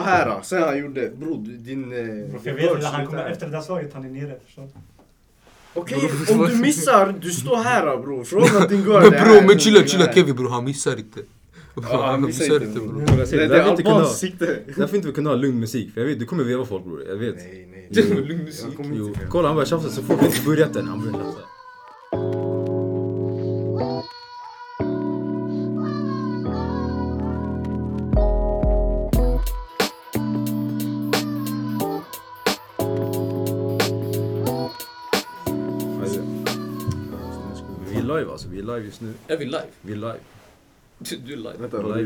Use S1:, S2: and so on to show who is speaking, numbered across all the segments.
S1: här. Sen han gjorde, bror din... eh,
S2: Jag
S1: din
S2: vet
S1: merch
S2: väl, han kommer
S1: slutar.
S2: efter det där slaget, han är nere. förstår du?
S1: Okej, om du missar, du står här bror. Fråga din girl.
S3: Men
S1: det
S3: bro,
S1: här,
S3: men chilla
S1: det
S3: chilla
S1: här.
S3: Kevin bro, han missar inte. Bro,
S1: Ja,
S3: han missar inte bro.
S1: Det, det,
S4: Det
S1: är
S4: hade inte kunnat.
S1: Albans sikte.
S4: Därför inte vi kunde ha lugn musik, för jag vet, du kommer veva folk bror, jag vet.
S1: Nej, nej.
S4: Jo,
S3: Lugn musik.
S1: Jag kommer
S4: Jo,
S1: inte
S4: kolla han börjar tjafsa så fort vi inte börjat än, han börjar tjafsa. Alltså, Vi är live alltså, vi är live just nu.
S5: Är vi live?
S4: Vi är live.
S5: Du är live.
S1: Vänta, har du,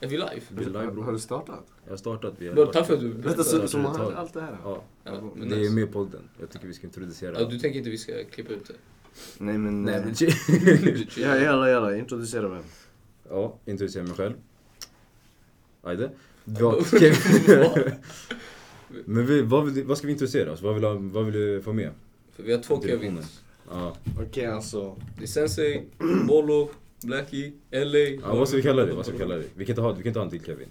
S5: Är vi live?
S4: Vi är live
S1: har
S4: bror.
S1: du startat?
S4: Jag har startat, vi
S5: Bro,
S4: har
S5: tack för att
S4: startat.
S5: du...
S1: Vänta,
S4: så-
S1: så,
S4: så man
S1: man
S4: hör
S1: hör allt det här?
S4: Ja,
S5: Ja, men
S4: det är
S5: nice.
S4: med i podden. Jag tycker vi ska introducera.
S5: Ja, du tänker inte vi ska klippa ut det?
S1: Nej men...
S4: Nej,
S1: eh,
S4: men
S1: Ja, jalla, jalla. Introducera vem.
S4: Ja, introducera mig själv. Ajde. Vi har Kevin. Men vi, vad, vill, vad ska vi introducera oss? Vad vill, ha- vad vill du få med?
S5: För vi har två
S4: Introduktionen.
S5: Kevins.
S4: Ja,
S1: Okej, alltså.
S5: Det är Sensei, Bolo, Blackie, LA.
S4: ja vad ska vi kalla det? Vad ska vi kalla det? Vi kan inte ha, vi kan inte ha en till Kevin.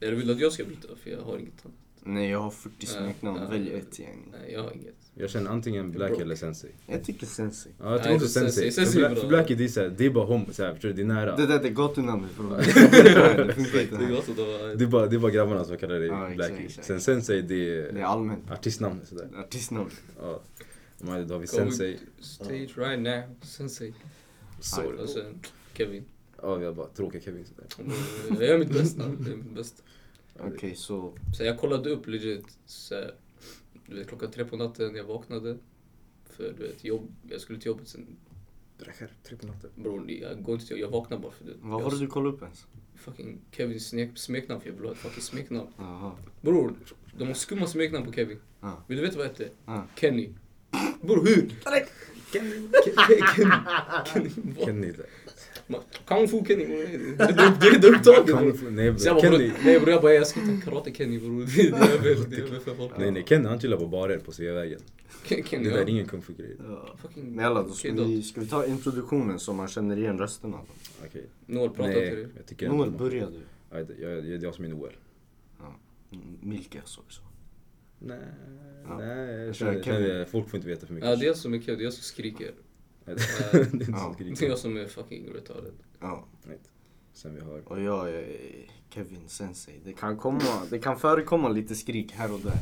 S5: Eller vill du att jag ska byta? För jag har inget annat.
S1: Nej, jag har 40
S5: smeknamn. Ja. Välj ett,
S1: igen.
S5: Nej, jag har inget.
S4: Jag känner antingen Black
S5: Bro.
S4: eller Sensei.
S1: Jag tycker Sensi.
S4: Ja, jag
S5: Nej,
S4: tror också
S5: Sensei.
S4: Sensei.
S5: Sensei
S4: för,
S5: är
S4: Black,
S5: bra.
S4: för Black är det så här, det är bara hom, så här, förstår du? Det är nära.
S1: Det där det är gatunamnet bror. Det funkar
S5: Det
S1: inte.
S5: är alltså uh, gott att det var...
S4: Det är bara, det är bara grabbarna som kallar dig
S1: Ja, exakt,
S4: Blackie.
S1: exakt.
S4: Sen Sensei, det
S1: Det är
S4: är
S1: allmänt.
S4: artistnamnet sådär.
S1: Artistnamn.
S4: Ja. Men Då har vi
S5: Kommer-
S4: Sensei.
S5: Stage right now, Sensei.
S4: Sorry.
S5: Och sen Kevin.
S4: Ja, vi har bara tråkiga Kevin sådär.
S5: Eh, Jag gör mitt bästa. Det är mitt bästa.
S1: Okej, så.
S5: Så jag kollade upp legit så här, du vet, klockan tre på natten, jag vaknade. För du vet, jobb, jag skulle till jobbet sen,
S4: Drakar, tre på natten.
S5: bror jag går inte till jobbet, jag vaknar bara för det.
S1: Vad var det du kollade upp ens?
S5: Fucking Kevin snek, smeknamn, för jag vill ha ett fucking smeknamn.
S1: Jaha.
S5: Bror, de har skumma smeknamn på Kevin.
S1: Ja.
S5: Vill du veta vad jag hette?
S1: Ja.
S5: Kenny. Bror hur? Kenny. Kenny. Kenny. Kenny.
S4: Kenny där.
S5: Man- Kung Fu Kenny. bror. Det är- Det är det upptaget.
S4: Kung
S5: bror.
S4: fu- Nej
S5: Så jag
S4: bror,
S5: bara, bror,
S4: Kenny.
S5: nej bror jag bara jag ska ta karate Kenny bror. Det är det jag vill, det är väl för folk.
S4: Nej nej, Kenny han chillar på barer på Sveavägen.
S5: Ken-
S4: Det
S5: Kenny.
S4: där är
S5: ja.
S4: ingen kung fu grej.
S1: Ja.
S5: Fucking
S1: Men jalla, då ska,
S5: kiddat.
S1: vi, ska vi ta introduktionen så man känner igen rösterna?
S4: Okej.
S5: Noel prata till
S4: Nej,
S5: dig.
S4: jag tycker
S1: Noel,
S4: inte
S1: börja du.
S4: Nej, det- jag, jag, det är jag som är Noel.
S1: Mm, Milka så så.
S4: Nej,
S1: Ja.
S4: nej. Jag
S1: Jag kör
S4: känner,
S1: Kenny.
S4: känner, folk får inte veta för mycket.
S5: Ja det är jag som är kul, det är jag som skriker.
S4: Nej, det är inte
S1: Ja.
S4: så
S5: Det är
S4: skrikigt.
S5: jag som är fucking retarded.
S1: Ja,
S4: Sen vi har...
S1: och jag är Kevin Sensei. Det kan, komma, det kan förekomma lite skrik här och där.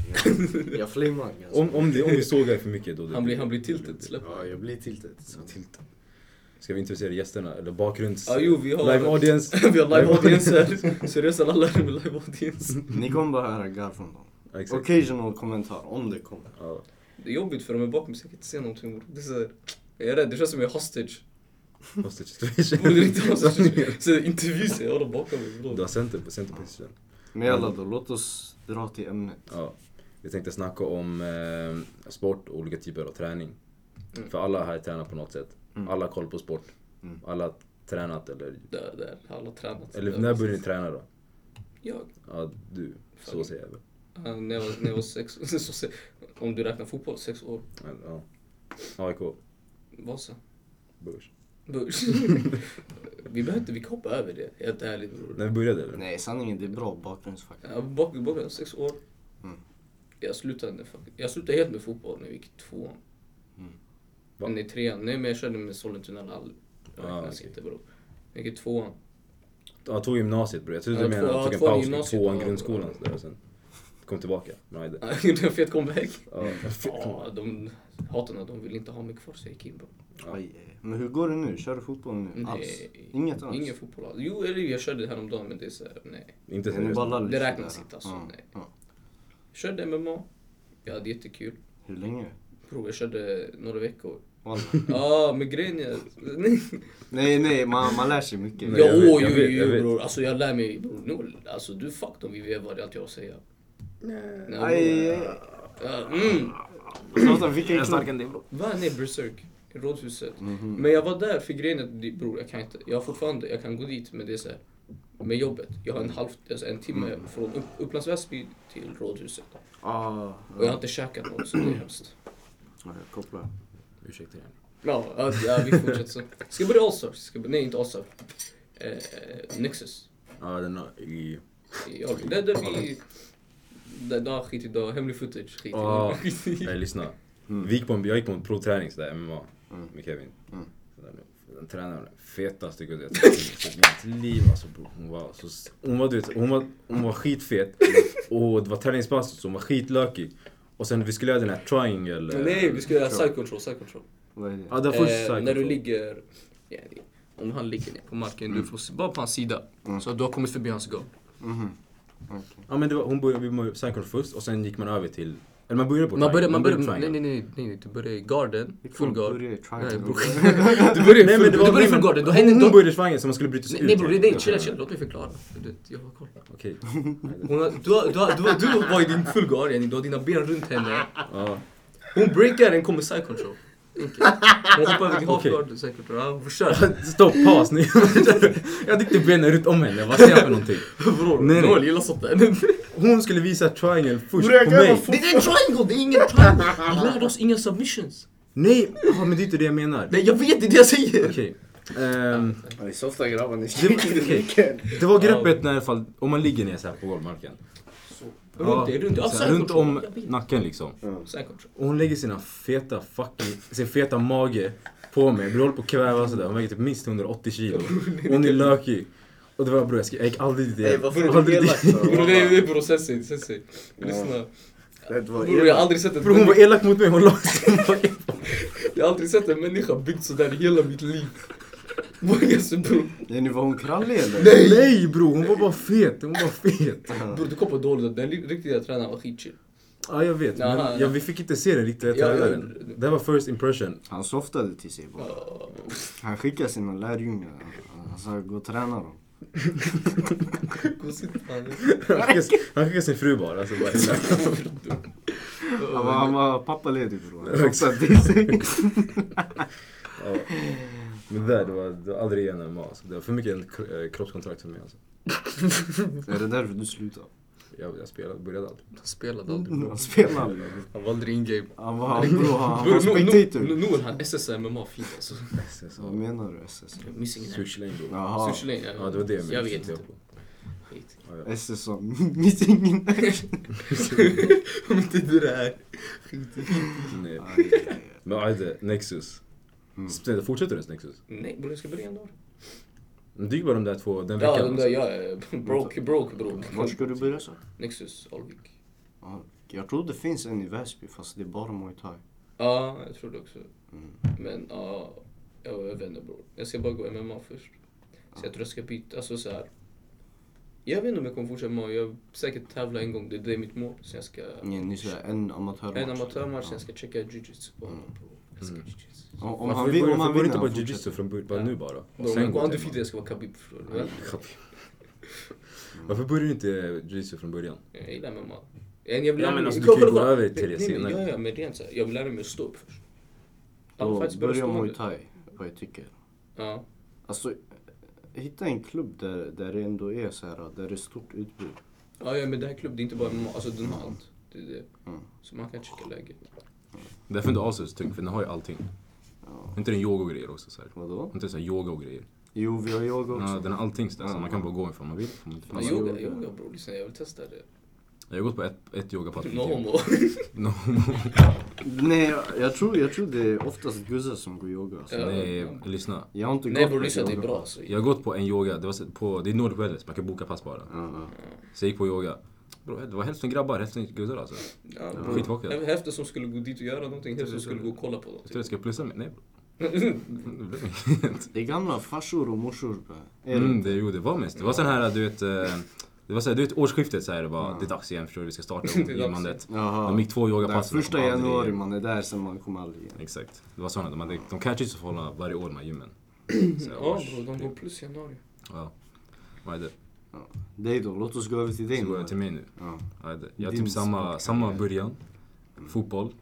S1: Jag, jag flimmar alltså. ganska
S4: Om, om, det, om vi sågar för mycket då... det-
S5: Han blir, han blir tilted, släpp.
S1: Ja, jag blir tiltet.
S4: Tilt. Ska vi introducera gästerna? Eller bakgrunds...
S5: Ja jo vi har...
S4: Live audience.
S5: vi har live audience här. Seriöst alla är med live audience.
S1: Ni kommer bara höra garv från dem.
S4: Ja, exakt.
S1: Occasional kommentar, om det kommer.
S4: Ja.
S5: Det är jobbigt för de är bakom så jag kan inte se någonting bror. Det är så här, jag är rädd, det känns som jag är hostage.
S4: Hostage situation.
S5: Borde inte ha hostage. Så här, intervju så jag har dem bakom mig
S4: Du har
S5: bror.
S4: center, center position.
S1: Men jalla då, låt oss dra till ämnet.
S4: Ja. Vi tänkte snacka om eh, sport och olika typer av träning.
S5: Mm.
S4: För alla här tränar på något sätt.
S1: Mm.
S4: Alla har koll på sport.
S1: Mm.
S4: Alla har tränat eller...
S5: Där, där, alla har tränat.
S4: Eller när började ni träna då?
S5: Jag.
S4: Ja, du. Så
S5: Fan.
S4: säger jag väl.
S5: Ja, när jag var, när jag var sex, så, se- om du räknar fotboll, sex år.
S4: Men, ja. AIK.
S5: Vasa.
S4: Börs.
S5: Börs. vi behöver inte, vi kan hoppa över det. Helt ärligt bror.
S4: När vi började eller?
S1: Nej, sanningen det är bra bakgrundsfakta.
S5: Jag var bak- bakgrund, sex år.
S1: Mm.
S5: Jag, slutade, med fuck- jag slutade helt med fotboll när vi gick i tvåan.
S1: Mm.
S4: Va?
S5: Men i trean, nej men jag körde med Sollentuna Lall. Det
S4: Ah,
S5: räknas
S4: okej.
S5: inte bror. Jag gick i tvåan.
S4: Ja, tog gymnasiet bror. Jag trodde
S5: Ja,
S4: du menade
S5: två-
S4: att
S5: ja,
S4: jag tog en
S5: tvåan
S4: paus
S5: i
S4: i
S5: gymnasiet,
S4: tvåan,
S5: ja.
S4: grundskolan och sådär och sen kom tillbaka. Men nej, det-
S5: Jag gjorde en fet comeback.
S4: ja.
S5: Ja, de hatarna de ville inte ha mig kvar så jag gick in bror.
S4: Ja.
S1: Aj, eh, Men hur går det nu? Kör du fotboll nu? Alls?
S5: Nej.
S1: Inget alls?
S5: Ingen fotboll alls. Jo, eller jag körde häromdagen men det är såhär, nej.
S4: Inte
S1: Är ni
S4: seriöst.
S1: bara lallis
S5: Det räknas
S1: där?
S5: inte alltså,
S1: liksom. Ja,
S5: nej.
S1: ja.
S5: Körde MMA. Jag hade jättekul.
S1: Hur länge?
S5: Bror, jag körde några veckor.
S1: Walla.
S5: Ja, men grejen är... Nej.
S1: nej, nej, man, man lär sig mycket.
S4: Men
S5: Ja,
S4: jag vet,
S5: åh,
S4: jag
S5: jo,
S4: vet, jag
S5: jo,
S4: vet.
S5: bror. Alltså jag lär mig, bror. Nu, alltså du fuck dem, vi vevar, det är allt jag har att säga. Nej.
S1: Aj, aj, aj.
S5: Ja, mm.
S1: Zlatan, vilken klubb?
S3: dig bro.
S5: Va? Nej, Berserk. i Rådhuset.
S4: Mhm.
S5: Men jag var där för grejen är att, det- bror, jag kan inte. Jag har fortfarande, jag kan gå dit, men det är så här, med jobbet. Jag har en halv, alltså en timme
S4: Mm.
S5: från upp, Upplands Väsby till Rådhuset.
S1: Ah, Ja,
S5: Och jag har inte käkat något, så det är hemskt.
S1: ja, jag kopplar.
S4: Ursäkta igen.
S5: Ja, ja, ja vi fortsätter så. Ska börja Allstar. Ska, börja- nej, inte Allstar. Eh, Nexus.
S4: Ja, den har... i-
S5: Jag blir rädd, vi... Det där skit i dag, hemlig footage, skit i
S4: Ja.
S5: skit i-
S4: Nej lyssna.
S1: Mm.
S4: Vi gick på en, jag gick på en provträning sådär, MMA,
S1: Mm.
S4: med Kevin.
S1: Mm.
S4: Så där, Den tränaren, den fetaste gubben jag sett i mitt liv alltså bror. Hon var, så, hon var, du vet, hon var, hon var skitfet och det var träningspasset så hon var skitlökig. Och sen vi skulle göra den här triangle... eh,
S5: Nej, vi ska göra
S1: Sure.
S5: side control, side control.
S1: Vad är det?
S4: Ja, det var först
S5: Eh,
S4: cycle
S5: när du
S4: fall.
S5: ligger... Ja, om han ligger ner på marken, du får se bara på hans sida. Så att du har kommit förbi hans gång.
S1: Mhm. Okej.
S4: Ja men det var, hon började, vi började cycle först och sen gick man över till... Eller man började på
S5: Man börjar,
S4: triangle,
S5: man börjar, nej,
S4: triangle.
S5: nej, nej, nej, nej, du börjar i garden,
S1: Vi kan
S5: full guard.
S1: börja i triangle.
S5: Nej, bror. Du börjar i
S4: Nej, men
S5: full-
S4: det
S5: du
S4: var-
S5: börjar i full garden, då
S4: Hon-
S5: händer...
S4: Hon
S5: då-
S4: började i triangle så man skulle bryta sig
S5: Nej,
S4: ut.
S5: Nej bror, nej, nej,
S4: Ja.
S5: chilla, chilla, låt mig förklara. Du vet, Jag har koll.
S4: Okej.
S5: Hon har, du, har- du, har- du, har- du var i din full guard, yani, du har dina ben runt henne.
S4: Ja.
S5: Hon breakar den kommer side control. Enkelt. Hon hoppar över till half
S4: Okej.
S5: guard, side control. Ja, Hon försöker.
S4: Stopp, paus nu. jag tyckte benen runt om henne, vad säger jag för någonting?
S5: Bror,
S4: Nej, nej.
S5: Noel gillar sånt där. Det
S4: Hon skulle visa triangle först
S1: Bror, jag
S4: på
S1: kan
S4: mig.
S1: vara
S5: är en triangle, det är ingen triangle. Han lärde oss inga submissions.
S4: Nej, ja, men det är inte det jag menar.
S5: Nej jag vet, det är det jag säger.
S4: Okej. Ehm,
S1: Ja, Det är softa grabbar, ni
S4: Det- det var greppet när i alla fall, om man ligger ner så här på golvmarken.
S5: Runt dig, runt dig. Ja,
S4: så
S5: side
S1: Alltså,
S4: här, runt
S5: control.
S4: om
S5: Jag vet.
S4: nacken liksom.
S5: Side control.
S4: Och hon lägger sina feta fucking, sin feta mage på mig. Bror jag håller på att kväva sådär. Hon väger typ minst 180 kilo. Hon är lökig. Och det var bror jag, ska, jag gick aldrig dit
S1: Nej
S4: igen.
S1: varför är du
S4: Aldrig
S1: elak
S4: dit.
S5: Bror det är det
S1: då?
S5: är bror sensei, sensei. Lyssna.
S1: Det var
S5: Bror jag har
S1: elakt.
S5: aldrig sett en
S4: Bror hon var elak mot mig. Hon la sin mage.
S5: Jag har aldrig sett en människa byggd sådär i hela mitt liv. Vågar sig bror.
S1: Jenny, var hon krallig eller?
S4: Nej! Nej bror hon var bara fet. Hon var fet.
S5: Bror du kom på dåligt att den li- riktiga tränaren var skitchill.
S4: Ja jag vet.
S5: Jaha,
S4: Men
S5: ja.
S4: ja, vi fick inte se den riktiga
S5: Ja, ja.
S4: tränaren. Det här var first impression.
S1: Han softade till sig bara.
S5: Ja.
S1: Han skickade sina lärjungar. Han sa gå och träna dem.
S5: Gå och sitta här.
S4: Han skickade- Han skickade sin fru bara. Alltså, bara
S1: Han var, han var pappaledig bror. Han softade till sig.
S4: ja. Men det där, det var, det var aldrig igen MMA. Alltså. Det var för mycket en kro- eh, kroppskontrakt för mig. Alltså.
S1: Är det därför du slutade?
S4: Jag, jag spelade, började aldrig.
S5: Han spelade aldrig bror.
S1: Han spelade aldrig.
S5: Han var aldrig in game.
S1: Han var, bror, han var
S5: Bror, no, no,
S1: spectator.
S5: no, Noel han SSR MMA fin alltså.
S4: SS,
S1: Vad menar du SS?
S5: Missing hand.
S4: Switch lane bro.
S1: Jaha.
S5: Sushi lane,
S4: Ja det var det
S5: jag vet inte.
S4: tänkte
S5: Skit.
S4: jag på. Ja,
S1: SS sa missing in action.
S5: Om inte du det här.
S4: ja. Nej.
S1: Aj, aj, aj.
S4: eh, Men Ajde, Nexus.
S1: Mm.
S4: Sp- Fortsätter ens Nexus?
S5: Nej bror jag ska börja en dag.
S4: Men Det gick bara de där två den veckan.
S5: Ja den där
S4: alltså.
S5: jag är broke, broke
S1: Var
S5: broke.
S1: ska du börja så?
S5: Nexus Alvik.
S1: Ja, Jag tror det finns en i Väsby fast det är bara muay thai.
S5: Ja, jag tror det också.
S1: Mm.
S5: Men ja, jag vet inte bror. Jag ska bara gå MMA först. Så jag tror jag ska byta, alltså så här. Jag vet inte om jag kommer fortsätta MMA, jag vill säkert tävla en gång, det, det är mitt mål. Så jag ska...
S1: Ni, ni säger en amatörmatch.
S5: En amatörmatch, sen
S1: Ja.
S5: ska jag checka jujutsu på honom bror. Jag älskar
S4: Mm.
S5: jujutsu.
S1: Om, om
S4: Varför
S1: han
S4: vi
S1: vill,
S4: börjar-
S1: om han
S4: varför
S1: vill
S4: börjar
S1: han
S4: inte bara
S1: fortsätter.
S4: jujitsu från början, bara nu bara.
S5: Bror om jag går
S4: till
S5: undefeated,
S4: MMA.
S5: jag ska vara Khabib förstår du.
S4: Varför börjar du inte jujitsu från början?
S5: Jag gillar MMA. Jag vill
S4: Ja,
S5: lära
S4: men
S5: mig-
S4: alltså, du
S5: kolla,
S4: kan ju
S5: kolla,
S4: gå
S5: kolla.
S4: över till det
S5: Nej, men
S4: senare.
S5: Ja, ja, men rent så här, jag vill lära mig att stå upp först. Alla
S1: Då
S5: fights börjar
S1: börja
S5: stående.
S1: muay thai, vad jag tycker.
S5: Ja.
S1: Alltså, eh, hitta en klubb där, där det ändå är så här, där det är stort utbud.
S5: Ja, ja, men det här klubben, det är inte bara MMA, alltså den har allt. Det är det.
S1: Mm.
S5: Så man kan checka läget.
S4: Därför är inte Asus tung, för den har ju allting.
S1: Ja.
S4: Är inte den yoga och grejer också? Så här.
S1: Vadå?
S4: Inte så här yoga och grejer.
S1: Jo, vi har yoga
S4: Ja,
S1: också.
S4: den har allting så där, så
S1: Ja.
S4: man kan bara gå ifrån man vill. Om man inte
S5: Ja,
S4: vill.
S5: yoga, yoga bror, lyssna jag vill testa det.
S4: Jag har gått på ett, ett yogapass.
S5: No homo.
S4: No.
S1: Nej, jag, jag, tror, jag tror det är oftast guzzar som går yoga. Alltså.
S5: Ja.
S4: Nej, lyssna.
S1: Jag har inte
S5: Nej
S1: gått
S5: bror,
S1: på
S5: lyssna det är
S1: yoga.
S5: bra alltså.
S4: Jag har gått på en yoga, det, var så- på, det är Nordic Wellness, man kan boka pass bara.
S1: Ja, ja.
S4: Så jag gick på yoga. Bro, det var hälften grabbar, hälften guzzar alltså.
S5: Ja, bror.
S4: Skittråkigt.
S5: Hä- Hälften som skulle gå dit och göra någonting, hälften som skulle gå och kolla på
S4: Jag tror jag ska
S5: någonting.
S4: plussa mig. Nej bro. Det blev inget.
S1: Det är gamla farsor och morsor. bä. Är det?
S4: Mm, det, jo, det var mest. Det var sån här, du vet, eh, det var så här, du vet årsskiftet så här, det var det är dags igen förstår du, vi ska starta
S5: Det är dags
S4: gymmandet.
S1: Jaha.
S4: De gick två
S1: Den
S4: yogapass. och de
S1: första
S4: kom aldrig
S1: januari
S4: igen.
S1: man är där sen man kommer aldrig igen.
S4: Exakt. Det var såna, de, hade, de catchade sig förhållande varje år de här gymmen. Så här,
S5: Ja
S4: års-
S5: bror, de går plus i januari.
S4: Ja. Vad är det?
S1: Dig då, låt oss gå över till dig.
S4: Så går
S1: man.
S4: jag till mig nu.
S1: Ja.
S4: Vad är det? Jag har
S1: Din Mm.
S4: typ samma, samma början. Fotboll.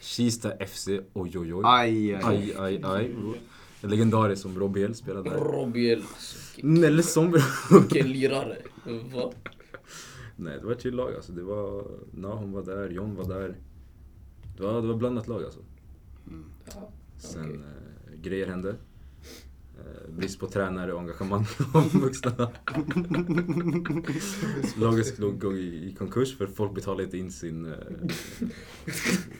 S4: Kista FC, oj oj oj.
S1: Aj, aj, aj.
S4: Aj, aj, aj. bro. Legendariskt som Robiel spelade där.
S5: Robiel.
S4: Nelson bro.
S5: alltså, Vilken lirare. Va?
S4: Nej, det var ett chill lag alltså. Det var... Nahum var där, John var där. Det var, det var blandat lag alltså.
S1: Mm.
S5: Ja,
S4: Sen
S5: okej.
S4: eh, grejer hände. Eh, brist på tränare och engagemang från vuxna. Laget låg gång i, i konkurs för folk betalade inte in sin... eh,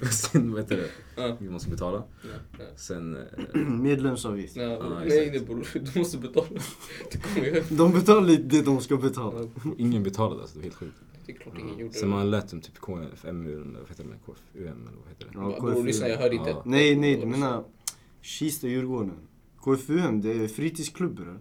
S4: sin vad heter det?
S5: Ja.
S4: Vi måste betala.
S5: Nej, nej.
S4: Sen... eh,
S1: Medlemsavgift.
S5: Nej,
S4: Ja,
S5: nej, nej
S4: exakt.
S5: bror, du måste betala. Du kommer ju hem.
S1: De betalar lite det de ska betala.
S4: och ingen betalade alltså, det var helt sjukt.
S5: Det är klart ingen gjorde
S4: Sen
S5: det.
S4: man lät dem typ KFMU eller vad heter det? KFUM eller vad heter det?
S1: Ja,
S5: Bara, Bror lyssna, jag hör inte.
S4: Ja.
S1: Nej, nej, du menar Kista Djurgården. KFUM, det är fritidsklubbar. eller?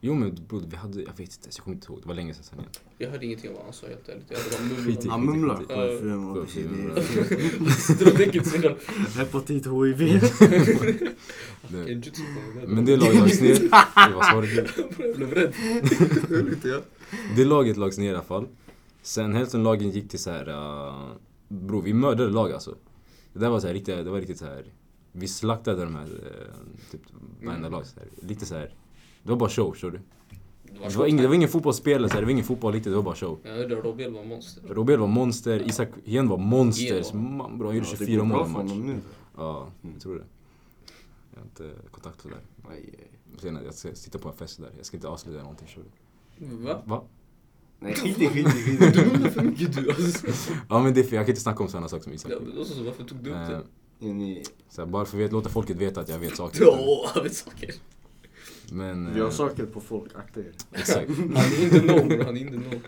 S4: Jo men bror, vi hade, jag vet inte, jag kommer inte ihåg. Det var länge sedan sen igen.
S5: Jag hörde ingenting av vad han sa helt ärligt. Jag hade bara
S4: Skit i.
S5: mumlat.
S1: Ja, mumlar.
S4: skit.
S1: KFUM, och precis. det är-
S5: Sitter och dricker till sina...
S1: Hepatit, HIV.
S4: Det-
S5: Genjutsu på mig.
S4: Men det laget lades ner. Oj, Vad sa du?
S5: Jag blev rädd.
S4: Det laget lags ner i alla fall. Sen hälften av lagen gick till så här. Uh, bro, vi mördade lag alltså. Det där var så här riktigt, det var riktigt så här. Vi slaktade de här, eh, typ varenda
S5: Mm.
S4: lag. Så här. Lite så här. Det var bara show, förstår du?
S5: Det
S4: Det var ingen, det var ingen fotbollsspelare, så här. det var ingen fotboll riktigt, det var bara show.
S5: Jag hörde att Robel var monster.
S4: Robert var monster, Isak igen var monster.
S5: Igen.
S4: Så Man, bro, han gjorde
S1: Ja,
S4: 24
S1: Det går
S4: mål
S1: bra
S4: i
S1: för
S4: match.
S1: honom nu.
S4: Ja, jag tror det. Jag har inte kontakt på det där.
S1: Aj, aj.
S4: Senare, jag ska sitta på en fest där. Jag ska inte avslöja någonting, förstår du?
S5: Va?
S4: Va?
S1: Nej, skit i, skit i, skit i.
S5: Du mumlar för mycket du alltså.
S4: Ja men det är för jag kan inte snacka om sådana saker som Isak
S5: Ja,
S4: gjorde.
S5: men också så, varför tog du upp
S4: Eh,
S5: det?
S1: Är ni-
S4: Så här, bara för att låta folket veta att jag vet saker.
S5: Ja, jag vet saker.
S4: Men...
S1: Vi har
S4: eh,
S1: saker på folk, akta er.
S4: Exakt.
S5: Han är inte någon bror, han är inte någon.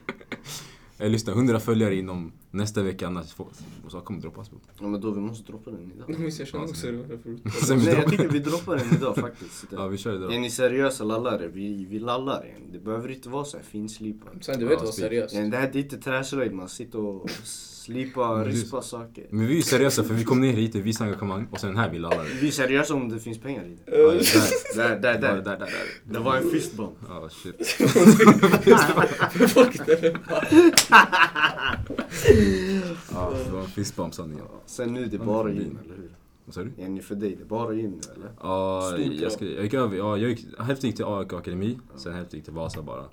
S4: Jag lyssnar, 100 följare inom nästa vecka annars får, och så kommer droppas. bro.
S1: Ja, men då, vi måste droppa den idag.
S5: Jag minns jag kände också hur det var förut.
S4: Sen vi
S1: Nej, jag
S4: droppar.
S1: tycker vi droppar den idag faktiskt.
S4: Ja vi kör
S1: Är
S4: idag.
S1: ni seriösa lallare? Vi, vi lallar igen. Det behöver inte vara så här finslipat.
S5: Sen du vet
S4: Ja,
S5: vad
S4: speak.
S5: seriöst.
S1: Nej, Det här det är inte träslöjd, man sitter och slipar,
S4: Men du-
S1: rispa saker.
S4: Men vi är ju seriösa för vi kom ner hit och visade engagemang och sen här vi lallar.
S1: Vi är seriösa om det finns pengar i det.
S4: Ja, just där.
S1: Där, där,
S4: Bara
S1: där.
S4: där, där, där.
S1: Det var en fistbump.
S4: Ja shit.
S5: Folk där
S4: Ja, det var en fistbump sanningen.
S1: Sen nu, det är bara gym, eller hur?
S4: Vad sa du?
S1: Är ni för dig, det är bara gym nu, eller?
S4: Ja,
S5: Stort krav.
S4: jag, skulle, jag gick över. Ja, jag gick, hälften gick till AIK Akademi, sen hälften gick till Vasa bara.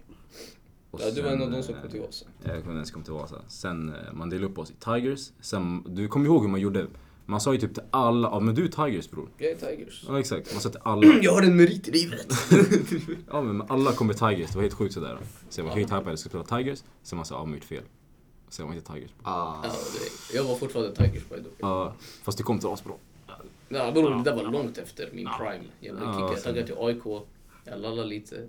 S4: Och
S5: Ja, du var
S4: sen,
S5: en av de som
S4: eh,
S5: kom till Vasa.
S4: Jag kommer inte ens kom till Vasa. Sen eh, man delade upp oss i Tigers. Sen, du kommer ihåg hur man gjorde? Man sa ju typ till alla, ja men du är Tigers bror.
S5: Jag är Tigers.
S4: Ja exakt, man sa till alla.
S5: Jag har en merit i livet.
S4: Ja men alla kommer Tigers, det var helt sjukt sådär. Så jag var skithypad, jag skulle spela Tigers. Sen man sa, ja men gjort fel. Sen var jag inte Tigers.
S1: Ah.
S5: Ja, det- Jag var fortfarande Tigers by the way.
S4: Ja, fast det kom till oss bror.
S5: Ja, bror, det där var långt efter min prime. Jag blev
S4: Ja,
S5: kickad, jag
S4: sen-
S5: taggade till AIK. Jag lallade lite.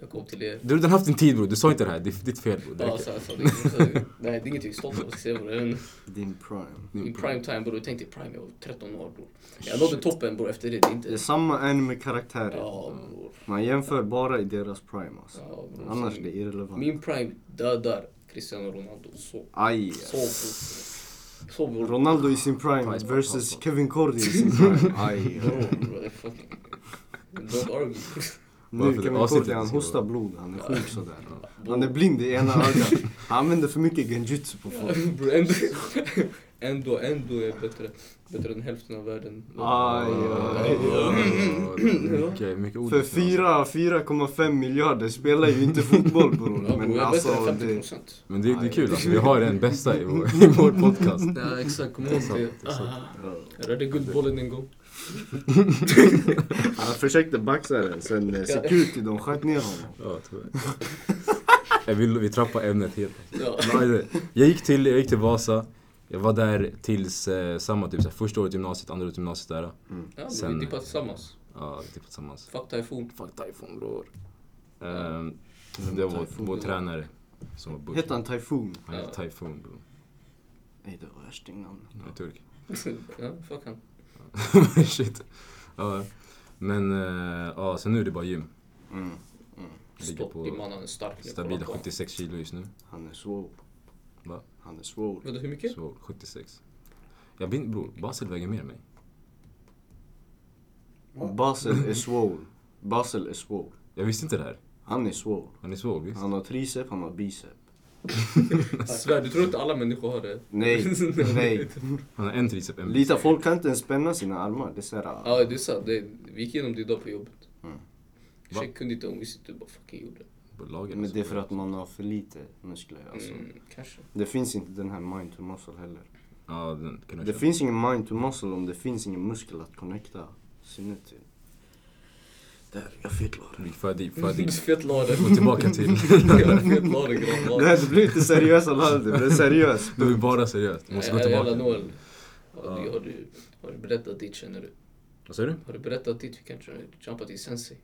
S5: Jag kom till er.
S4: Du har redan haft din tid bror, du sa inte det här. Det är ditt fel bror. Det
S1: Ah,
S5: Ja,
S4: räcker.
S5: så, så, det, så, nej, det är inget vi är stolta över. ska jag säga, bror. Jag vet inte.
S1: Din prime.
S5: Min prime time, bror. Tänk dig prime, jag var 13 år bror. Jag nådde toppen bror efter det. Det är
S1: Det är
S5: inte...
S1: samma anime-karaktärer.
S5: Ja, bror.
S1: Man jämför bara i deras prime alltså.
S5: Ja, bror.
S1: Annars
S5: Så
S1: det är irrelevant.
S5: Min prime dödar Cristiano Ronaldo. Så,
S1: Aj.
S5: så bror. Så bror.
S1: Ronaldo i sin prime
S4: Price,
S1: versus
S4: price, price.
S1: Kevin Cordy i sin prime. Aj.
S5: Bror, bror, det är fucking... Don't argue.
S1: Nu
S4: Varför
S1: Kevin
S4: det?
S1: Cordy
S4: Avsnittet
S1: han
S4: ska
S1: hostar
S4: vara-
S1: blod, han är sjuk sådär.
S5: Bror.
S1: Han är blind i ena ögat. Han använder för mycket genjutsu på folk.
S5: Bror, ändå, ändå, ändå är jag bättre, bättre än hälften av världen.
S1: Aj,
S4: Ah,
S1: aj,
S4: aj. Mycket, mycket ord.
S1: För fyra- 4,5 miljarder spelar ju inte fotboll bror.
S5: Ja, bror, jag
S1: Men
S5: är
S1: alltså
S5: bättre än 50
S1: det...
S5: procent.
S4: Men det, det är
S1: Aj.
S4: kul, alltså, vi har den bästa i vår, i vår podcast.
S5: Ja, exakt. Kom
S4: Det är sant, det är sant.
S5: Jag räddade guldbollen en gång.
S1: Han försökte baxa den sen eh, security de sköt ner honom.
S4: Ja, tyvärr. Jag vill, vi trappar ämnet helt.
S5: Ja.
S4: Nej, det- Jag gick, till, jag gick till Vasa. Jag var där tills eh, samma typ, så här, första året i gymnasiet, andra året i gymnasiet där.
S5: Ja,
S4: Sen-
S5: vi dippade tillsammans.
S4: Ja, typ tillsammans.
S5: Fuck Typhoon.
S4: Fuck Typhoon bror. Ehm, det var vår, vår tränare som var Butch.
S1: Hette han Typhoon?
S4: Han hette Typhoon bror.
S1: Nej det var värstingnamn.
S4: Han är turk.
S5: Ja, fuck han.
S4: Shit. Ja. Men eh, ja, sen nu är det bara gym.
S1: Mm.
S4: Ligger
S5: Stopp i
S4: på
S5: mannen, stark nu.
S4: stabila
S5: Kolla på honom.
S4: 76 kilo just nu.
S1: Han är swole.
S4: Va?
S1: Han är swole.
S5: Vänta, hur mycket?
S4: Så 76. Jag vet inte bror, Basel väger mer än mig.
S1: Basel är swole. Basel är swole.
S4: Jag visste inte det här.
S1: Han är swole.
S4: Han är svår visst?
S1: Han har tricep, han har bicep.
S5: Svär, du tror inte alla människor har det?
S1: Nej, nej.
S4: Han har en tricep, en
S1: Lita, folk kan inte ens spänna sina armar. Det är såhär...
S5: Ja, det är sant. Det, vi gick igenom det idag på jobbet.
S1: Mm.
S4: Va?
S5: Tjejen kunde inte om vi sitter och bara fucking gjorde.
S4: på lager. alltså.
S1: Men det är för att man har för lite muskler alltså.
S5: Mm, kanske.
S1: Det finns inte den här mind to muscle heller.
S4: Ja, den kan
S1: Det
S4: du köpa.
S1: finns ingen mind to muscle om det finns ingen muskel att connecta sinnet till. Där, jag fetlar.
S4: För dig, för
S1: Mm.
S4: dig.
S5: Fett lade.
S4: Gå tillbaka till...
S5: Fett lade, grön
S1: Det här
S5: lade.
S1: det blir inte seriöst Alhaji, det blir seriöst.
S5: Ah,
S4: Nu är bara seriöst. Du måste gå
S5: Jävla
S4: tillbaka.
S5: nål. Har du- har du- Har du berättat ditt känner du?
S4: Vad säger du?
S5: Har du berättat ditt? Vi kan jumpa till sensei.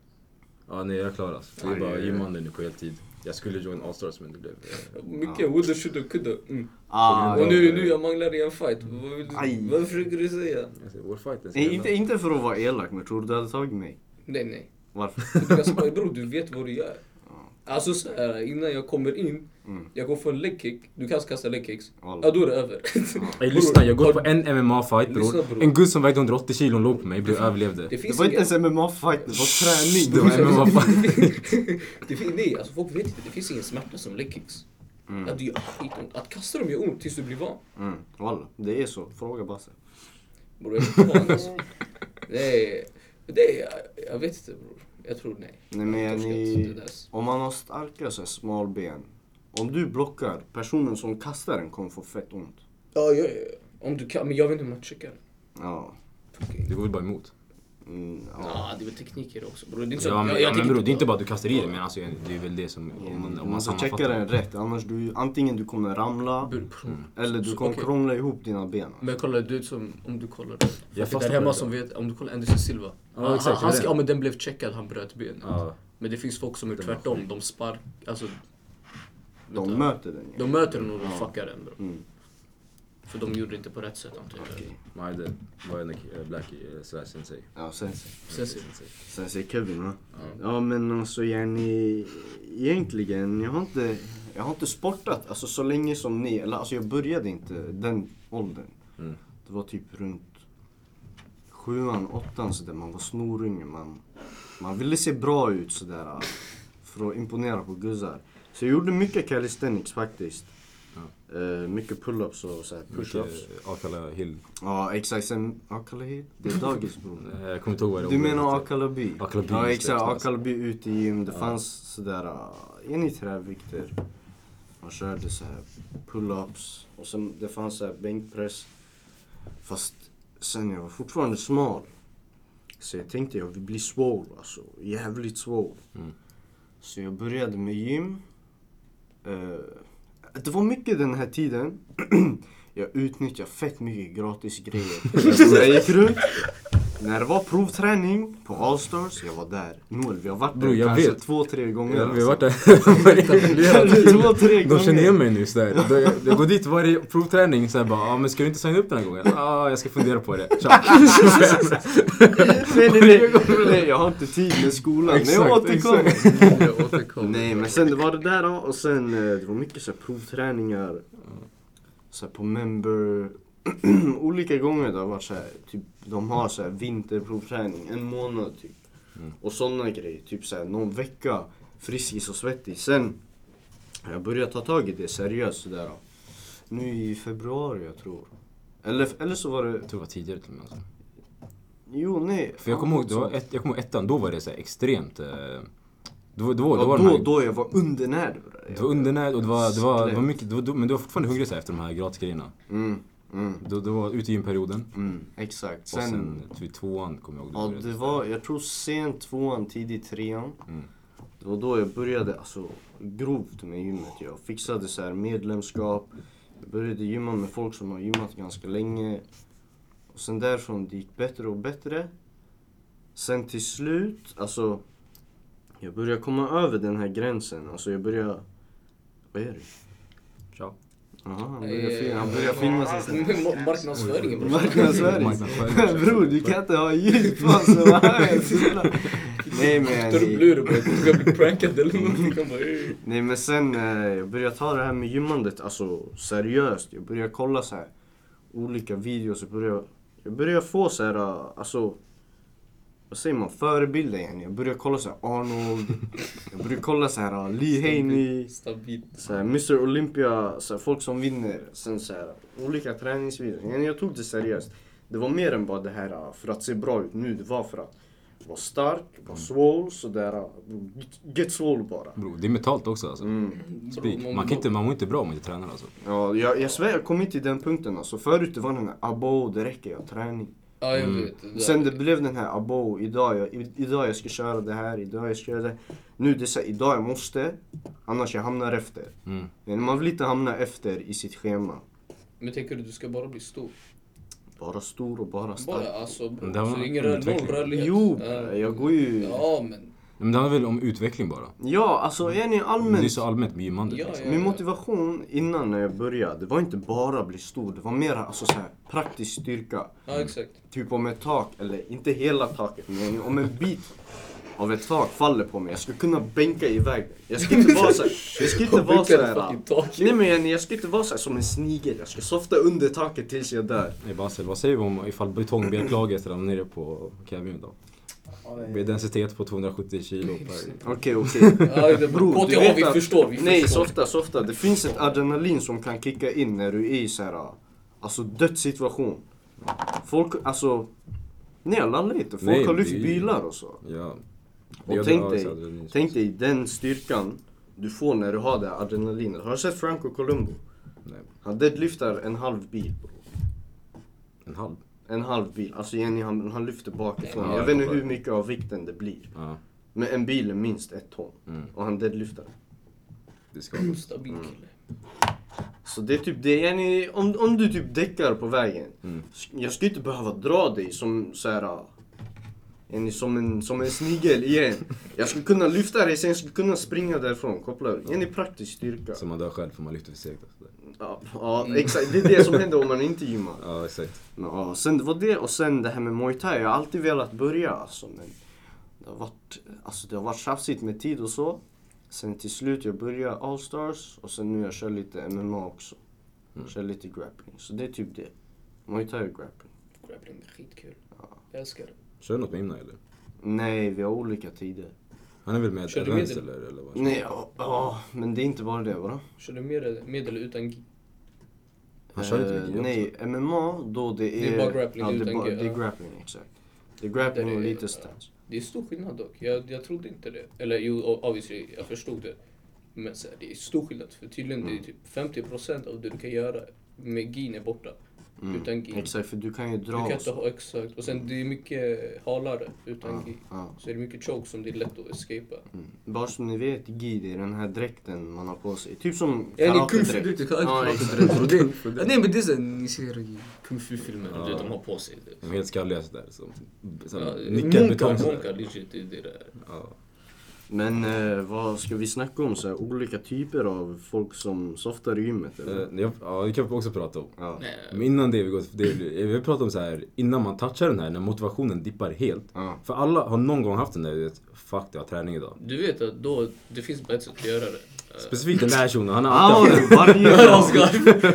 S4: Ja, nej jag klarar alltså. Det är
S1: Aj,
S4: bara
S1: aj, aj.
S4: gymhanden nu på heltid. Jag skulle joina Allstars men det blev... eh,
S5: Mycket woulda, shoulda, kudda. Mm.
S1: Ah,
S5: Och nu, nu jag manglar i en fight. Vad, vill
S1: Aj.
S5: du, vad försöker du säga?
S4: Jag säger, vår fight den ska
S1: Nej, inte,
S4: hända.
S1: inte för att vara elak, men tror du du hade tagit mig?
S5: Nej, nej.
S1: Varför?
S5: Du kan skoja, bror, du vet vad du gör. Alltså så här, innan jag kommer in,
S4: Mm.
S5: jag går för en legkick. Du kan kasta legkicks.
S1: Alla.
S5: Ja, då är det över.
S4: Ey lyssna, jag går
S5: Har-
S4: på en MMA-fight
S5: Lyssna,
S4: bror.
S5: bror.
S4: En gud som vägde 180 kilo låg på mig, blev överlevde.
S5: Det
S1: Det
S5: finns
S1: var inte
S5: inga...
S1: ens MMA-fight, det var träning.
S4: Det var MMA-fight.
S5: Det fin- nej, alltså folk vet inte. Det finns ingen smärta som legkicks.
S4: Mm.
S5: Att, det gör skitont. att kasta dem gör ont tills du blir van.
S1: Mm, walla, det är så. Fråga Basse.
S5: Bror, jag är inte van alltså. Det är... Det är... Jag vet inte bror. Jag tror nej.
S1: Nej men
S5: Jag har
S1: jag,
S5: torskat det
S1: ni,
S5: där.
S1: om man har starka så här, smalben, om du blockar, personen som kastar den kommer få fett ont.
S5: Ja, ja, ja. Om du kan, men jag vet inte hur man checkar.
S1: Ja.
S4: Det går väl bara emot.
S1: Mm,
S5: Ja,
S1: ja.
S5: det är väl tekniker också bror. Det är inte så-
S4: Ja men,
S5: Alltså, jag- jag
S4: ja, men
S5: tänker
S4: bror, det är inte bara att du kastar i det men alltså det är väl det som... Om man, om
S1: Man
S4: man
S1: ska checka
S4: sammanfattar.
S1: den rätt, annars du, antingen du kommer ramla
S5: Bror, bror.
S4: Mm.
S1: eller du
S5: Så,
S1: kommer
S5: okej.
S1: krångla ihop dina ben.
S5: Men kolla, du är som, om du kollar. Jag
S4: fastnar
S5: där
S4: på
S5: hemma
S4: det.
S5: som vet, om du kollar Anderson Silva.
S4: Ja,
S5: han,
S4: exakt,
S5: han,
S4: det är
S5: han,
S4: det.
S5: ja men den blev checkad, han bröt benet.
S4: Ja.
S5: Men det finns folk som är tvärtom, de spark, alltså.
S1: De
S5: vänta.
S1: möter den ju.
S5: De möter den och de fuckar den bror.
S1: Mm.
S5: För de gjorde det inte på rätt sätt antagligen.
S1: Okej.
S4: Nej det var en eh, Blackie eh, slash sensei.
S1: Ja, sensei.
S5: Sen ser
S4: Sensei.
S1: Sen säger Kevin va? Ja men alltså Jenny, egentligen, jag har inte, jag har inte sportat alltså, så länge som ni. Eller alltså jag började inte den åldern.
S4: Mm.
S1: Det var typ runt sjuan, åttan sådär. Man var snorunge. Man, man ville se bra ut sådär. För att imponera på guzzar. Så jag gjorde mycket calisthenics faktiskt. Eh, mycket pull-ups och såhär push-ups.
S4: Mycket Eh, Akalla Hill.
S1: Ja exakt. Sen Akalla Hill, det är dagis bror.
S4: Eh, Jag kommer inte ihåg vad det
S1: Du
S4: var.
S1: menar Akalaby?
S4: Akalaby,
S1: ja
S4: just det,
S1: exakt,
S4: exakt.
S1: Akalaby ute i gym. Det fanns sådär, äh, en i trävikter. Man körde så här pull-ups och sen det fanns så här bänkpress. Fast sen jag var fortfarande smal. Så jag tänkte jag vill bli swole alltså, jävligt swole.
S4: Mm.
S1: Så jag började med gym. Eh, det var mycket den här tiden. jag utnyttjade fett mycket gratis grejer. jag gick runt. När det var provträning på Allstars, jag var där. Noel, vi har varit
S4: Bro,
S1: där
S4: jag
S1: kanske
S4: vet.
S1: två, tre gånger.
S4: Ja, vi har varit
S1: alltså.
S4: där.
S1: två, tre gånger.
S4: De känner igen mig nu sådär. De- Jag går dit varje provträning såhär bara ah, men ska du inte signa upp den här gången? ah, jag ska fundera på det. Tja.
S1: nej, nej, nej, nej, jag har inte tid med skolan. Men jag
S4: Exakt,
S1: återkommer.
S5: Jag återkommer.
S1: Nej men sen det var det där då och sen eh, det var mycket så här, provträningar. Så här, på member. Olika gånger det har varit så här, typ de har så här vinterprovträning en månad typ.
S4: Mm.
S1: Och sådana grejer, typ så här någon vecka friskis och svettig. Sen har jag börjat ta tag i det seriöst sådär. då. Nu i februari jag tror. Eller, eller så var det,
S4: Jag tror det var tidigare till och med. Alltså.
S1: jo nej.
S4: För jag kommer ihåg, det var ett, jag kommer ihåg ettan, då var det så här extremt... eh, Då, då, då,
S1: Ja,
S4: var de
S1: då,
S4: här,
S1: då jag var undernärd.
S4: det var undernärd och det var, det var, det var
S1: Skelett.
S4: mycket, det var, då- men du var fortfarande hungrig så här, efter de här gratisgrejerna.
S1: Mm, mm,
S4: Då, då var ute i gymperioden.
S1: mm, exakt.
S4: Och sen vid tvåan kommer jag ihåg. då
S1: Ja,
S4: började
S1: det
S4: så
S1: var, jag tror sent tvåan, tidigt trean.
S4: Mm.
S1: Det var då jag började, alltså grovt med gymmet. Jag fixade så här medlemskap. Jag började gymma med folk som har gymmat ganska länge. Och sen därifrån det gick bättre och bättre. Sen till slut, alltså. Jag började komma över den här gränsen. Alltså jag började... Vad är det?
S4: där. Tja.
S1: Jaha, han
S5: Eh,
S1: började, fin- han började filma sig. sen.
S5: Ma- Ah, Marknadsföringen bror.
S1: Marknadsföring. Bror, du kan inte ha ljud på så här. snälla. Nej men...
S5: Tar upp luren bror. Du ska bli prankad eller någonting. Han bara, "Ey."
S1: Nej men sen eh, jag började ta det här med gymmandet alltså seriöst. Jag började kolla så här olika videos. Jag började, jag började få så här eh, alltså vad säger man, förebilder igen. Jag började kolla så här Arnold. jag började kolla så här eh, Lee Haney.
S5: Stabilt.
S1: Så här, Mr Olympia, så här, folk som vinner. Sen så här, olika träningsvideor. Men Jag tog det seriöst. Det var mer än bara det här eh, för att se bra ut nu. Det var för att vara stark, vara swole, sådär. eh, Get, get swole bara.
S4: Bror, det är mentalt också alltså.
S1: Mm.
S5: Bror,
S4: Spik.
S5: man-
S4: Man, kan inte, man mår inte bra om man inte tränar alltså.
S1: Ja, jag, jag svär jag kom inte till den punkten alltså. Förut det var den här abo, det räcker, jag har träning.
S5: Ja, jag
S4: Mm.
S5: vet. Det där.
S1: Sen det blev den här abo, idag jag, i- idag jag ska köra det här, idag jag ska göra det. Nu det är så här, idag jag måste, annars jag hamnar efter.
S4: Mm.
S1: Men man vill inte hamna efter i sitt schema.
S5: Men tänker du, du ska bara bli stor?
S1: Bara stor och bara
S5: Bara,
S1: stark.
S5: alltså, bro,
S4: Men det här
S5: så
S4: var
S5: ingen rör, noll
S4: utveckling.
S5: rörlighet.
S1: Jo,
S5: Ja.
S1: jag går ju...
S5: Ja, men.
S4: Men det handlar väl om utveckling bara?
S1: Ja, alltså är ni
S4: Det är
S1: allmänt...
S4: så allmänt med gymmandet.
S5: Ja,
S4: liksom.
S5: ja.
S1: Min motivation innan när jag började, det var inte bara bli stor. Det var mer alltså, så här, praktisk styrka.
S5: Ja, exakt.
S1: Typ om ett tak, eller inte hela taket, men om en bit av ett tak faller på mig. Jag ska kunna bänka iväg den. Jag ska inte vara så här, jag ska inte vara så här.
S5: Fucking tak.
S1: Nej men jag- jag ska inte vara så här som en snigel. Jag ska softa under taket tills jag dör.
S4: Nej, Bassel, vad säger vi om ifall betongbetlaget ramlar nere på Kevin då? Med densitet på 270 kilo per...
S1: Okej okej.
S5: Ja, det
S1: Bror,
S5: beror
S1: du
S5: på.
S1: vet
S5: vi
S1: att-
S5: förstår. Vi
S1: Nej,
S5: förstår.
S1: softa, softa. Det finns ett adrenalin som kan kicka in när du är i så här, alltså dödssituation. Folk, alltså, nej jag lallar inte. Folk
S4: Nej,
S1: har lyft
S4: det är-
S1: bilar och så.
S4: Ja. Det
S1: Och
S4: gör
S1: tänk
S4: det
S1: dig,
S4: alltså, adrenalin.
S1: tänk dig den styrkan du får när du har det här adrenalinet. Har du sett Franco Columbo?
S4: Nej,
S1: Han deadliftar en halv bil. bro.
S4: en halv.
S1: En halv bil. Alltså Jenny, han, han lyfter bakifrån.
S4: Nej,
S1: Jag
S4: jag
S1: vet inte
S4: fattar.
S1: hur mycket av vikten det blir.
S4: Ja,
S1: Men en bil är minst ett ton.
S4: Mm.
S1: Och han deadliftar.
S4: det ska vara.
S5: Stabil
S1: Mm.
S5: kille.
S1: Så det är typ det, Jenny, om, om du typ däckar på vägen.
S4: Mm.
S1: sk- Jag skulle inte behöva dra dig som så här, ah, Jenny, som en, som en snigel igen. Jag skulle kunna lyfta dig, sen skulle jag kunna springa därifrån. Koppla ur. Jenny, praktisk styrka.
S4: Så man dör själv för man lyfter för segt. och sådär.
S1: Ja, ja exakt. Det är det som händer om man inte gymmar.
S4: Ja, exakt.
S1: Ja, sen det var det och sen det här med muay thai. Jag har alltid velat börja alltså, men det har varit, alltså, det har varit tjafsigt med tid och så. Sen till slut jag började allstars och sen nu jag kör lite MMA också.
S4: Mm.
S1: Kör lite grappling. Så det är typ det. Muay thai och grappling.
S5: Grappling är skitkul. Jag älskar det.
S4: Kör något med Imna eller?
S1: Nej, vi har olika tider.
S4: Han är väl med
S5: Kör du
S4: Rens
S5: med
S4: eller? eller vad?
S1: Nej, ja, ja, men det är inte bara det bara.
S5: Kör du med, med eller utan gi?
S4: Han kör lite med
S1: Eh,
S4: gi också.
S1: Nej, MMA då det är...
S5: Det är bara grappling
S1: ja, det, är
S5: utan
S1: bara,
S5: gi,
S1: det är
S5: ja.
S1: grappling, exakt. Det är grappling
S5: Där det
S1: och
S5: är-
S1: lite
S5: ja.
S1: stance.
S5: Det är stor skillnad dock. Jag, jag trodde inte det. Eller jo, o- obviously, jag förstod det. Men så här, det är stor skillnad. För tydligen
S1: Mm.
S5: det är typ 50% av det du kan göra med gin är borta.
S1: Mm.
S5: Utan gi.
S1: Exakt, för du kan ju dra
S5: Du kan
S1: och
S5: inte
S1: så.
S5: ha exakt. Och sen det är mycket halare utan
S1: Ja, Mm.
S5: gi.
S1: ja.
S5: Så är det mycket choke som det är lätt att escapa.
S1: Bara som ni vet, gi det är den här dräkten man har på sig. Typ som
S5: Ja, det är typ
S1: karatedräkt.
S3: Du kan
S1: Ja,
S3: alltid
S1: exakt.
S3: prata bror. Det- Nej men det är såhär, ni ser det.
S5: Kung fu-filmen,
S4: Ja.
S5: du vet de har på sig det.
S4: De är helt skalliga sådär. Som, som
S5: Ja,
S4: nickar betong
S5: munkar,
S4: sådär.
S5: munkar, legit, det är det där.
S4: Ja.
S1: Men eh, vad ska vi snacka om? Så här, olika typer av folk som softar i gymmet eller?
S4: Eh, jag- Ja, det kan vi också prata om.
S1: ja.
S5: Nej,
S4: Men innan det vi går det, vi pratar om så här innan man touchar den här när motivationen dippar helt.
S1: Ja.
S4: För alla har någon gång haft den där du vet, fuck jag har träning idag.
S5: Du vet att då, det finns bara ett sätt att göra det.
S4: Specifikt den där shunon, han har
S1: Ah,
S4: alltid haft
S1: varje dag!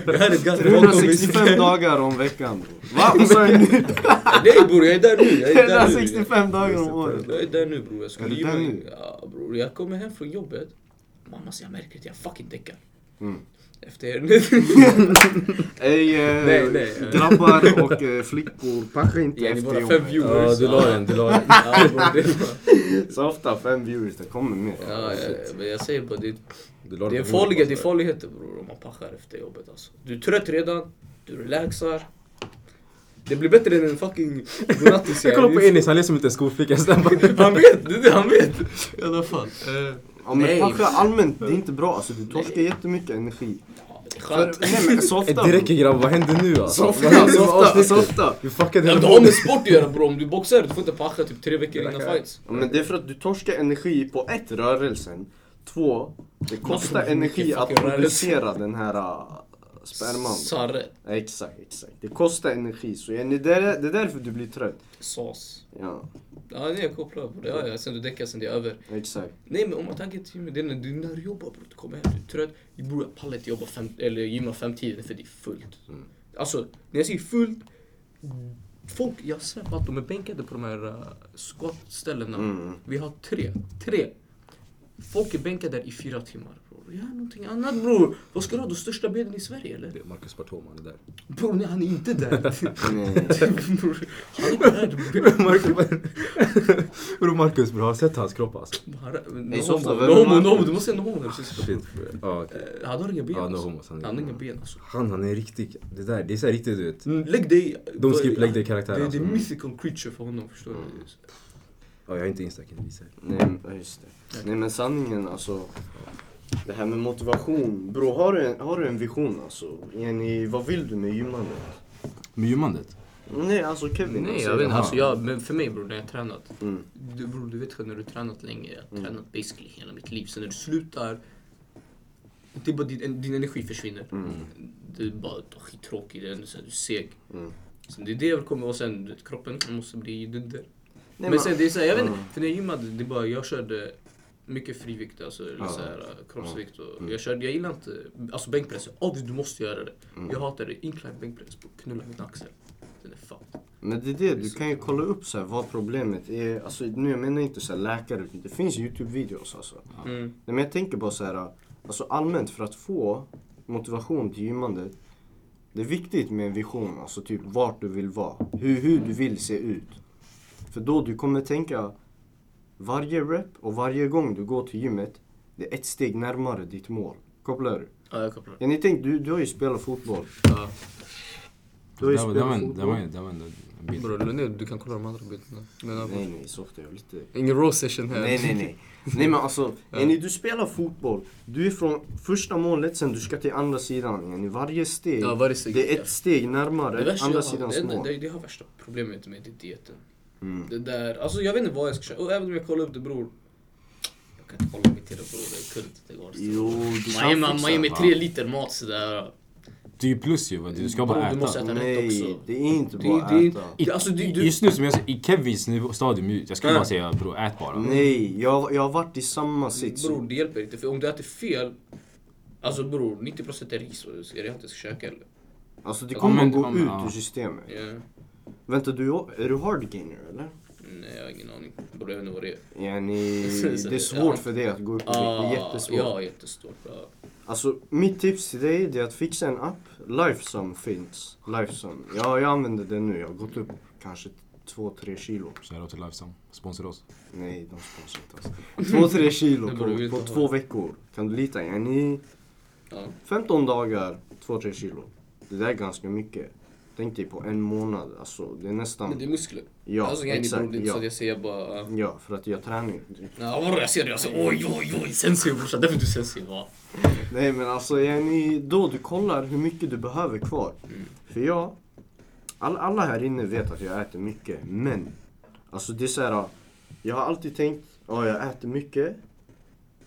S5: Det här är ett ganska
S1: 365 dagar om veckan. Va? Vad sa jag nu?
S5: Nej bror, jag är där nu. Jag är där nu.
S1: 365 dagar om året.
S5: Jag är där nu bror. Jag skulle
S1: Är du
S5: ge
S1: där
S5: mig.
S1: nu?
S5: Ja bror, jag kommer hem från jobbet. Mamma så jag märker att jag fucking däckar.
S1: Mm.
S5: Efter er nu.
S1: Ey, eh,
S5: Nej, nej, eh.
S1: grabbar och eh, flickor, pascha inte
S5: Ja, ni
S1: efter
S5: bara fem
S1: jobbet.
S5: viewers.
S4: Ja, du la den, du la den.
S5: Ja, bror, det är bara-
S1: Så ofta fem viewers, det kommer mer.
S5: ja, ja, men jag säger bara det.
S4: Du la den
S5: Det är
S4: på bordet bara
S5: farliga, det är
S4: sådär.
S5: farligheter bror om man pachar efter jobbet alltså. Du är trött redan, du relaxar. Det blir bättre än en fucking godnattis.
S4: Jag kollar på Enis, han är som inte en skolflicka. så där bara-
S5: Han vet, det är det han vet. I alla fall.
S1: Ja, men
S5: Nej.
S1: pascha allmänt, det är inte bra. Alltså, du torskar jättemycket energi. För,
S5: Skönt.
S1: nej men softa.
S4: Eh, Det räcker grabbar, vad händer nu alltså?
S1: Softa,
S4: Vad händer med
S1: softa,
S4: avsnittet?
S1: softa.
S4: Vi fuckade
S5: Ja,
S4: hela
S5: det har med
S4: podden.
S5: sport att göra bror. Om du boxar, du får inte pacha typ tre veckor innan fights.
S1: Ja, men det är för att du torskar energi på ett, rörelsen. Två, det kostar
S5: Mycket
S1: energi att
S5: fucking rörelse.
S1: producera den här äh, sperman.
S5: Sarre.
S1: Ja, exakt, exakt. Det kostar energi. Så Jenny, det är, det är därför du blir trött.
S5: Sås.
S1: Ja,
S5: Ja, nej, jag kopplar på det. Ja, ja, sen du däckar, sen det är över.
S1: exakt.
S5: Nej, men om man tänker till gymmet, det är när du, när du jobbar bror. Du kommer hem, du är trött. Bror, jag pallar inte jobba fem, eller gymma fem tiden för det är fullt.
S1: Mm.
S5: Alltså, när jag säger fullt. Folk, jag svär på att de är bänkade på de här uh, squat-ställena.
S1: Mm.
S5: Vi har tre. Tre. Folk är bänkade där i fyra timmar. bror. Bror, gör någonting annat bror. Vad ska du ha? Den största beden i Sverige eller?
S4: Det är Marcus Bartoma, han är där.
S5: Bror, nej han är inte där.
S1: Nej.
S5: bror, han är inte där.
S4: Bror Marcus bror, har du sett hans kropp alltså?
S5: Bara-
S1: Nej,
S5: No
S1: så ofta,
S5: homo,
S1: vem
S5: no
S1: är
S5: homo,
S1: Marcus?
S5: no homo. Du måste säga no homo. när du säger så.
S4: Shit, bror. Ja, okej.
S5: Eh, Han har inga ben
S4: Ja, no
S5: alltså.
S4: homo. Han
S5: Han har inga
S4: är-
S5: ben alltså.
S4: Han, han är riktig. Det där, det är så här riktigt du vet.
S5: Mm, Lägg dig...
S4: De skip, lägg dig i
S5: Det,
S4: karaktär
S5: det
S4: alltså. Mm.
S5: är mythical creature för honom förstår du.
S4: Ja, jag är inte insta, kan inte visa.
S1: Nej, men- ja, just det. Nej men sanningen alltså. Det här med motivation. Bro, har du en, har du en vision alltså? Jenny, vad vill du med gymmandet?
S4: Med gymmandet?
S1: Nej, alltså Kevin.
S5: Nej
S1: alltså,
S5: jag vet inte,
S4: Jaha.
S5: alltså jag, men för mig bror när jag tränat.
S1: Mm.
S5: Du, bror, du vet själv när du tränat länge, jag har
S4: Mm.
S5: tränat basically hela mitt liv. Sen när du slutar, det är bara din, din energi försvinner.
S4: Mm.
S5: Du är bara skittråkig, du är så här, du är seg.
S1: Mm.
S5: Så det är det jag vill komma och sen du vet, kroppen måste bli den där.
S1: Nej,
S5: men sen det är såhär, jag vet
S1: Mm.
S5: inte, för när jag gymmade, det är bara, jag körde mycket frivikt, alltså eller
S1: Ja.
S5: så här, eh, kroppsvikt och jag körde, jag gillar inte, alltså bänkpress, obviously du måste göra det.
S1: Mm.
S5: Jag hatar det, incline bänkpress, bro. knulla min axel. Den är fucked.
S1: Men det är det, du kan ju kolla upp så här, vad problemet är. Alltså, nu, jag menar inte så här, läkare, utan det finns Youtube-videos alltså.
S5: Mm.
S1: Nej, men jag tänker bara så här, alltså allmänt för att få motivation till gymmandet. Det är viktigt med en vision, alltså typ vart du vill vara. Hur, hur du vill se ut. För då du kommer tänka, varje rep och varje gång du går till gymmet, det är ett steg närmare ditt mål. Kopplar du?
S5: Ja, jag kopplar.
S1: Ja, ni tänk, du, du har ju spelat fotboll.
S5: Ja.
S1: Du har ju
S4: Det var- det var
S1: spelat
S4: en- det var
S1: fotboll.
S4: en- det var en en bild.
S5: Bror, lugna du kan kolla de andra bilderna.
S1: Nej, nej, softa, jag är lite...
S5: ingen raw session här.
S1: Nej, nej, nej. Nej men alltså, Jenny, du spelar fotboll. Du är från första målet, sen du ska till andra sidan. Jenny. Varje steg,
S5: Ja, varje steg,
S1: det är
S5: ja.
S1: ett steg
S5: Det,
S1: närmare
S5: värsta
S1: andra
S5: jag
S1: sidans
S5: har, det,
S1: mål.
S5: det, det har värsta problemet med det är dieten.
S1: Mm.
S5: Det där, alltså jag vet inte vad jag ska köra, och även om jag kollar upp det bror. Jag kan inte hålla mig till det bror, det kunde inte gå.
S1: Jo, du
S5: Man ger,
S1: kan
S5: man, man ger mig
S1: fixa.
S5: tre liter mat sådär.
S4: Det är ju plus ju, va? du ska
S5: Bro,
S4: bara
S5: du måste äta.
S4: äta.
S5: rätt
S1: Nej,
S5: också.
S1: det är inte
S5: Det-
S1: bara
S5: det-
S1: äta.
S4: I,
S5: Det- alltså, det-
S4: i-
S5: du-
S4: just nu som jag i Kevins nivå- stadium, ju, jag skulle
S5: Ja.
S4: bara säga bro, ät bara.
S1: Nej, jag, jag har varit i samma sits.
S5: Bror det hjälper inte, för om du äter fel. Alltså bror, 90% är ris och är det jag inte ska käka eller?
S1: Alltså det
S5: Ja,
S1: kommer
S4: men-
S1: att gå
S4: ja, men,
S1: ut
S4: ja.
S1: ur systemet.
S5: Ja.
S1: Vänta, du, är du hard gainer eller?
S5: Nej jag har ingen aning. Bror jag vet inte vad det är.
S1: Jenny,
S5: Precis,
S1: det är
S5: ja.
S1: svårt för dig att gå upp i vikt. Det är jättesvårt.
S5: Ja, jättesvårt. Ja.
S1: Alltså mitt tips till dig det är att fixa en app. Lifesum finns. Lifesum. Ja, jag använder den nu. Jag har gått upp kanske 2-3 kilo.
S4: Shoutout till Lifesum, sponsra oss.
S1: Nej, de sponsrar inte alls. 2-3 kilo
S5: Det borde vi
S1: på,
S5: inte
S1: på
S5: ha.
S1: två veckor. Kan du lita? Är ni
S5: Ja.
S1: 15 dagar, 2-3 kilo. Det där är ganska mycket. Tänk dig på en månad. Alltså det är nästan...
S5: Men det är muskler.
S1: Ja,
S5: alltså, jag
S1: exakt.
S5: Är inte, bror, det är inte så
S1: ja.
S5: att jag säger bara... ja.
S1: ja, för att jag tränar ju.
S5: Ja, vadå jag ser det? Alltså, oj, oj, oj. Sensei brorsan, därför du sensei va?
S1: Nej men alltså är ni då du kollar hur mycket du behöver kvar. För jag, all, alla här inne vet att jag äter mycket men alltså det är så här. Jag har alltid tänkt ja jag äter mycket.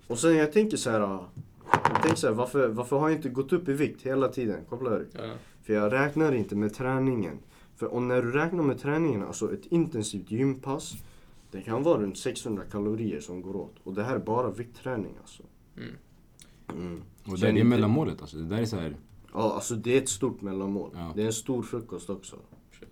S1: Och sen jag tänker så här. ah, Jag tänker så här varför, varför har jag inte gått upp i vikt hela tiden? Kopplar du?
S5: Ja.
S1: För jag räknar inte med träningen. För och när du räknar med träningen, alltså ett intensivt gympass. Det kan vara runt 600 kalorier som går åt. Och det här är bara viktträning alltså.
S4: Och det,
S1: Känner
S4: det är
S1: inte-
S4: mellanmålet alltså, det där är så här.
S1: Ja, alltså det är ett stort mellanmål.
S4: Ja.
S1: Det är en stor frukost också.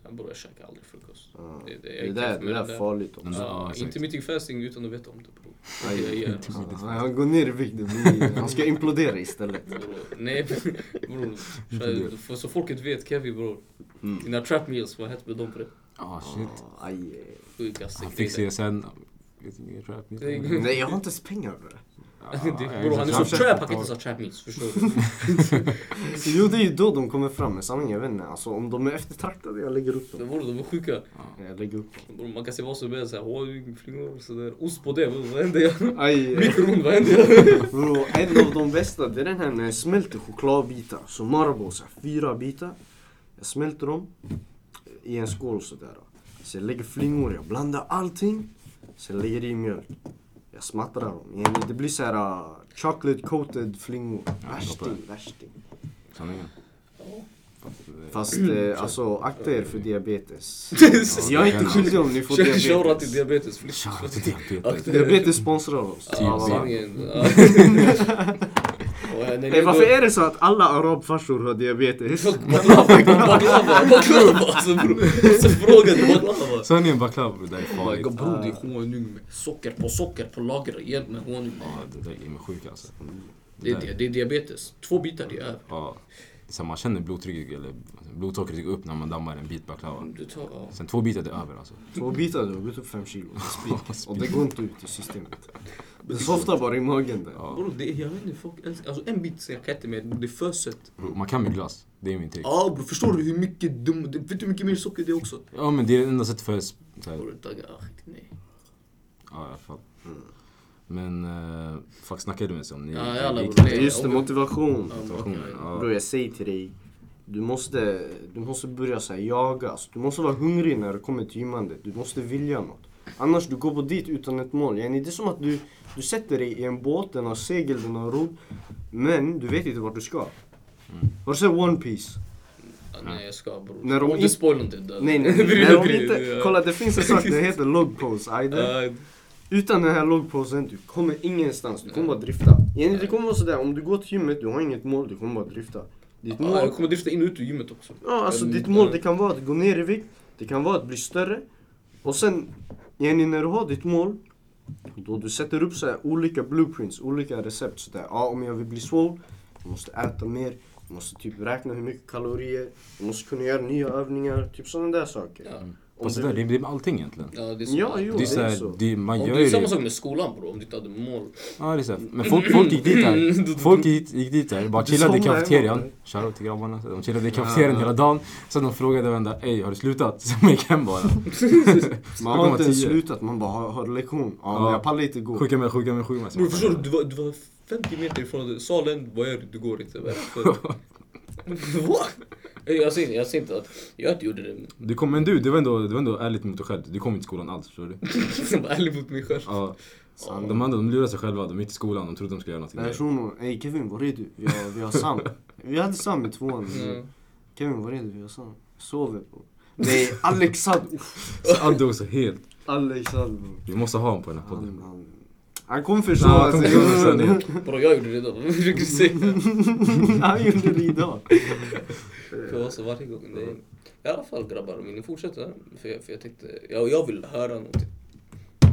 S5: Jag bror jag käkar aldrig frukost.
S1: Ja.
S5: Det, det, jag
S1: Det
S5: är
S1: där,
S5: kaff med
S1: det där
S5: det Mm. där.
S1: är farligt också.
S4: Den där- ja,
S5: Ja,
S4: exakt.
S5: inte mycket fasting utan att veta om det bror.
S1: Aj.
S5: Det jag gör.
S1: Ja, Han går ner i vikt, det blir- han ska implodera istället.
S5: Bror, Nej bror, för- för så folket vet Kevin bror. Dina trap meals, vad hette med dem bre?
S4: Ah shit.
S1: Aj. eh.
S5: Sjukaste
S4: Han fick
S5: grejer.
S4: CSN. Vet inte, jag tror att-
S5: Det är-
S1: Nej, jag har inte ens pengar för det.
S4: Ah,
S5: Det-
S4: jag
S5: Bror
S4: vet
S5: han är
S4: inte.
S5: så trap, han kan inte ens ha trap meals, förstår du?
S1: Jo, det är ju då de kommer fram med sanningen. Jag vet inte, alltså om de är eftertraktade, jag lägger upp dem.
S5: Men bror de är sjuka.
S1: Jag lägger upp dem.
S5: Bror man kan se vad som helst, såhär honung, flingor, sådär. Ost på det, bror, vad händer? jag?
S1: Aj. eh.
S5: Mikron, vad händer? jag?
S1: Bro, en av de bästa, det är den här när jag smälter chokladbitar. Så Marabou, så här, fyra bitar. Jag smälter dem i en skål sådär. Så jag lägger flingor, jag blandar allting. Sen lägger jag i mjölk. Jag smattrar dem. Igen, Det blir så här uh, chocolate coated flingor. Värsting, värsting.
S4: Sanningen.
S1: Fast eh, alltså akta er för diabetes. Jag är inte
S4: det kan-
S1: skyldig om ni får
S5: Kör- Shoutout
S1: diabetes.
S5: till diabetes, flytt.
S4: Shoutout till diabetes.
S5: Akta dig.
S1: Diabetes sponsrar oss.
S5: Ja,
S1: Ja, va?
S5: sanningen. Ja. Och, eh, när ni
S1: Ey, varför
S5: går-
S1: är det så att alla arabfarsor har diabetes?
S5: Baklava, baklava, baklava! Alltså bror, så frågade baklava.
S4: Sanningen baklava bror, det där är
S5: Oh my
S4: farligt.
S5: god bror, det är honung med socker på socker på lager igen med honung.
S4: Ah, Ja, det där är mig sjuk alltså.
S5: Det är, det, det är diabetes. Två bitar, det är över.
S4: Ja. Sen man känner blodtrycket eller blodsockret gå upp när man dammar en bit baklava.
S5: Du tar, ja.
S4: Sen två bitar det är över alltså.
S1: Två bitar du har gått upp fem kilo. Spik. Och det går inte ut i systemet. Det softar bara i magen där.
S4: Ah,
S5: Bro, det, jag vet inte, folk älskar... Alltså en bit ser jag katter med, det är för sött.
S4: Bro, man kan med glass. Det är min trick.
S5: Ja bro, förstår du hur mycket dum... Vet du hur mycket mer socker det är också?
S4: Ja men det är det enda sättet för... Så här,
S5: Bro, tagga, ah, skit, nej.
S4: ja i alla fall. Men... Uh, fuck snackade du med om? Ni,
S5: Ja, jävlar,
S4: gick-
S5: bro, det-
S1: Just det, motivation.
S5: Ja,
S4: situationen,
S5: okej.
S4: ja.
S1: Bror jag säger till dig, du måste, du måste börja så här, jaga. Alltså, du måste vara hungrig när det kommer till gymmandet. Du måste vilja något. Annars du går på dit utan ett mål. Yani, det är som att du, du sätter dig i en båt, den har segel, den har rodd. Men du vet inte vart du ska. Har du sett One Piece?
S5: Ja, nej jag ska bror.
S1: När de
S5: Om
S1: in-
S5: du spoilar inte döda.
S1: Nej nej, nej. När de inte, kolla det finns en sak, det heter log pose. ajde. Utan den här logposen, du kommer ingenstans. Du kommer bara drifta. Yani, det kommer vara sådär, om du går till gymmet, du har inget mål, du kommer bara drifta. Ditt mål,
S5: jag kommer drifta in och ut ur gymmet också.
S1: Ja, alltså
S5: Mm,
S1: ditt mål
S5: ja.
S1: det kan vara att gå ner i vikt, det kan vara att bli större. Och sen, Jenny, när du har ditt mål, då du sätter upp så här olika blueprints, olika recept. Så där, ja, om jag vill bli swole, jag måste äta mer, jag måste typ räkna hur mycket kalorier, jag måste kunna göra nya övningar, typ sådana där saker.
S5: Ja.
S1: Om
S4: Fast det
S1: du-
S4: där, det det är med allting egentligen.
S5: Ja, det är så.
S1: Ja, jo,
S4: Det är så
S1: det är
S4: här,
S1: så.
S4: det, man
S5: Om
S4: gör
S5: det är
S4: ju
S5: samma
S4: det.
S5: sak med skolan bror, om du inte hade mål.
S4: Ja, det är så här. Men folk, folk gick dit där. Folk gick, gick dit där, bara
S1: Du
S4: chillade i
S1: somnar
S4: kafeterian.
S1: hemma.
S4: Shoutout till grabbarna. De chillade i kafeterian hela dagen. Sen de frågade varandra, ey har du slutat? Sen gick hem bara.
S1: Man har inte ens
S4: 10.
S1: slutat, man bara har, har du lektion. Ja,
S4: Ja.
S1: men jag pallar inte gå.
S4: Sjuka med, sjuka med, sjuka med.
S5: Bror förstår du, du var, du var 50 meter ifrån salen, vad gör du? Du går inte. Varför? Va? Jag ser, jag ser inte att jag inte gjorde det.
S4: Du kom, men du, det var, ändå, det var ändå ärligt mot dig själv. Du kom inte till skolan alls, förstår du?
S5: Jag var ärlig mot mig själv.
S4: Ja. De andra, de lurade sig själva. De gick till skolan, de trodde de skulle göra någonting.
S1: Nej, Shuno, ey Kevin var är du? Vi har, vi har Sam. Vi hade Sam i tvåan.
S5: Mm.
S1: Kevin var är du? Vi har Sam. Sover på. Nej, Alexander.
S4: Så Adde också helt.
S1: Alexander.
S4: Vi måste ha honom på den här podden.
S1: Han, han, han kommer
S4: Ja, han
S1: försvara
S4: kommer
S1: sig.
S4: försvara sig
S5: Bror jag gjorde det då. Vad försöker du säga?
S1: han gjorde det idag.
S5: För oss varje gång. Det är... I alla fall grabbar, om ni fortsätter. För jag, för jag tänkte, jag, jag vill höra någonting.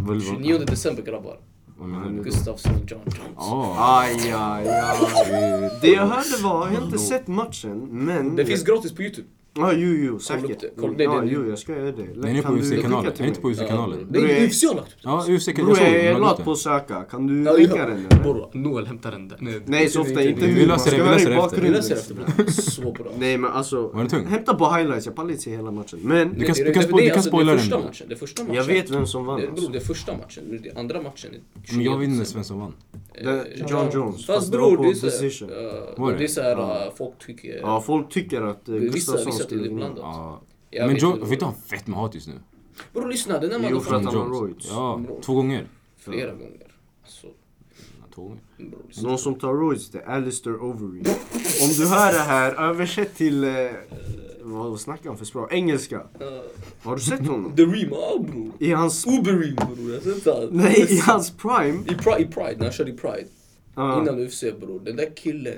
S4: Vad-
S5: 29 december grabbar.
S4: Vad menar du?
S5: Gustafsson, John Jones.
S4: Ja.
S1: Aj, aj, aj. Det jag hörde var, jag har inte sett matchen, men...
S5: Det finns gratis på Youtube.
S1: Ja, jo, jo,
S5: Kolla upp det.
S1: säkert.
S5: Kolla- nej,
S1: Ja,
S5: nej,
S1: jo, jag ska göra det.
S4: Den är på
S1: Kan du skicka
S4: UFC-kanalen.
S1: till
S4: Är inte på
S1: mig?
S4: UFC-kanalen?
S5: Det är UFC har lagt upp det.
S4: Ja, UFC kan jag
S1: Bror,
S4: såg
S1: jag är
S4: den, de har
S1: lat
S4: lagt
S1: på
S4: den.
S1: att söka. Kan du
S5: Ja,
S1: länka
S5: ja.
S1: den eller?
S5: Bror,
S3: Noel hämtar den där. Nej,
S1: Nej, så ofta inte
S4: Vi
S1: nu. Man
S4: löser det,
S1: ska
S4: vi
S1: vara
S4: löser
S1: i
S4: det efter.
S5: vi
S1: bakgrunden.
S5: läser efter bror. Så bra.
S1: Nej, men alltså.
S4: Var den tung?
S1: Hämta bara highlights, jag pallar inte se hela matchen. Men
S4: Du kan,
S5: Det-
S4: du kan,
S5: det-
S4: spo-
S5: det-
S4: du kan
S5: alltså,
S4: spoila
S5: det är
S4: den.
S5: första
S4: bara.
S5: matchen. Det är första matchen.
S1: jag vet vem som vann.
S5: Det, bror,
S1: Alltså.
S5: det är första matchen. Nu är Det är andra matchen. är
S4: Men jag
S5: 21
S4: vet inte ens vem som vann.
S1: Det-
S5: Eh,
S1: John Jones.
S5: Fast
S1: Fast det var
S5: bror,
S1: på
S5: det är så
S1: decision.
S5: här, eh,
S4: Var det?
S5: det är så här,
S1: Ja.
S5: eh, folk tycker...
S1: Ja, folk tycker att eh,
S5: vissa-
S1: Gustafsson
S5: vissa
S1: skulle
S5: tycker
S1: vinna.
S5: ibland.
S4: Ja.
S5: Jag
S4: Men
S5: vet
S4: Joe,
S5: inte vad-
S4: vet du han har fett med hat just nu?
S5: Bror lyssna, den här
S1: Jo,
S5: mannen
S1: för att
S5: har
S4: John
S1: han
S5: fått
S1: har
S4: Jones.
S1: roids.
S4: Ja,
S5: Bro.
S4: två gånger.
S5: flera gånger. Alltså,
S4: Ja, två gånger.
S5: bror lyssna.
S1: Någon som tar roids det är Alistair Overy. Om du hör det här, översätt till... Eh, vad snackar han för språk? Engelska.
S5: Eh,
S1: Har du sett honom?
S5: The Ream, ja bror.
S1: I hans...
S5: Uberim bror, jag har sett han.
S1: Nej, i hans prime.
S5: I Pride, i Pride, när han körde i Pride.
S1: Ja,
S5: Innan UFC bror, den där killen.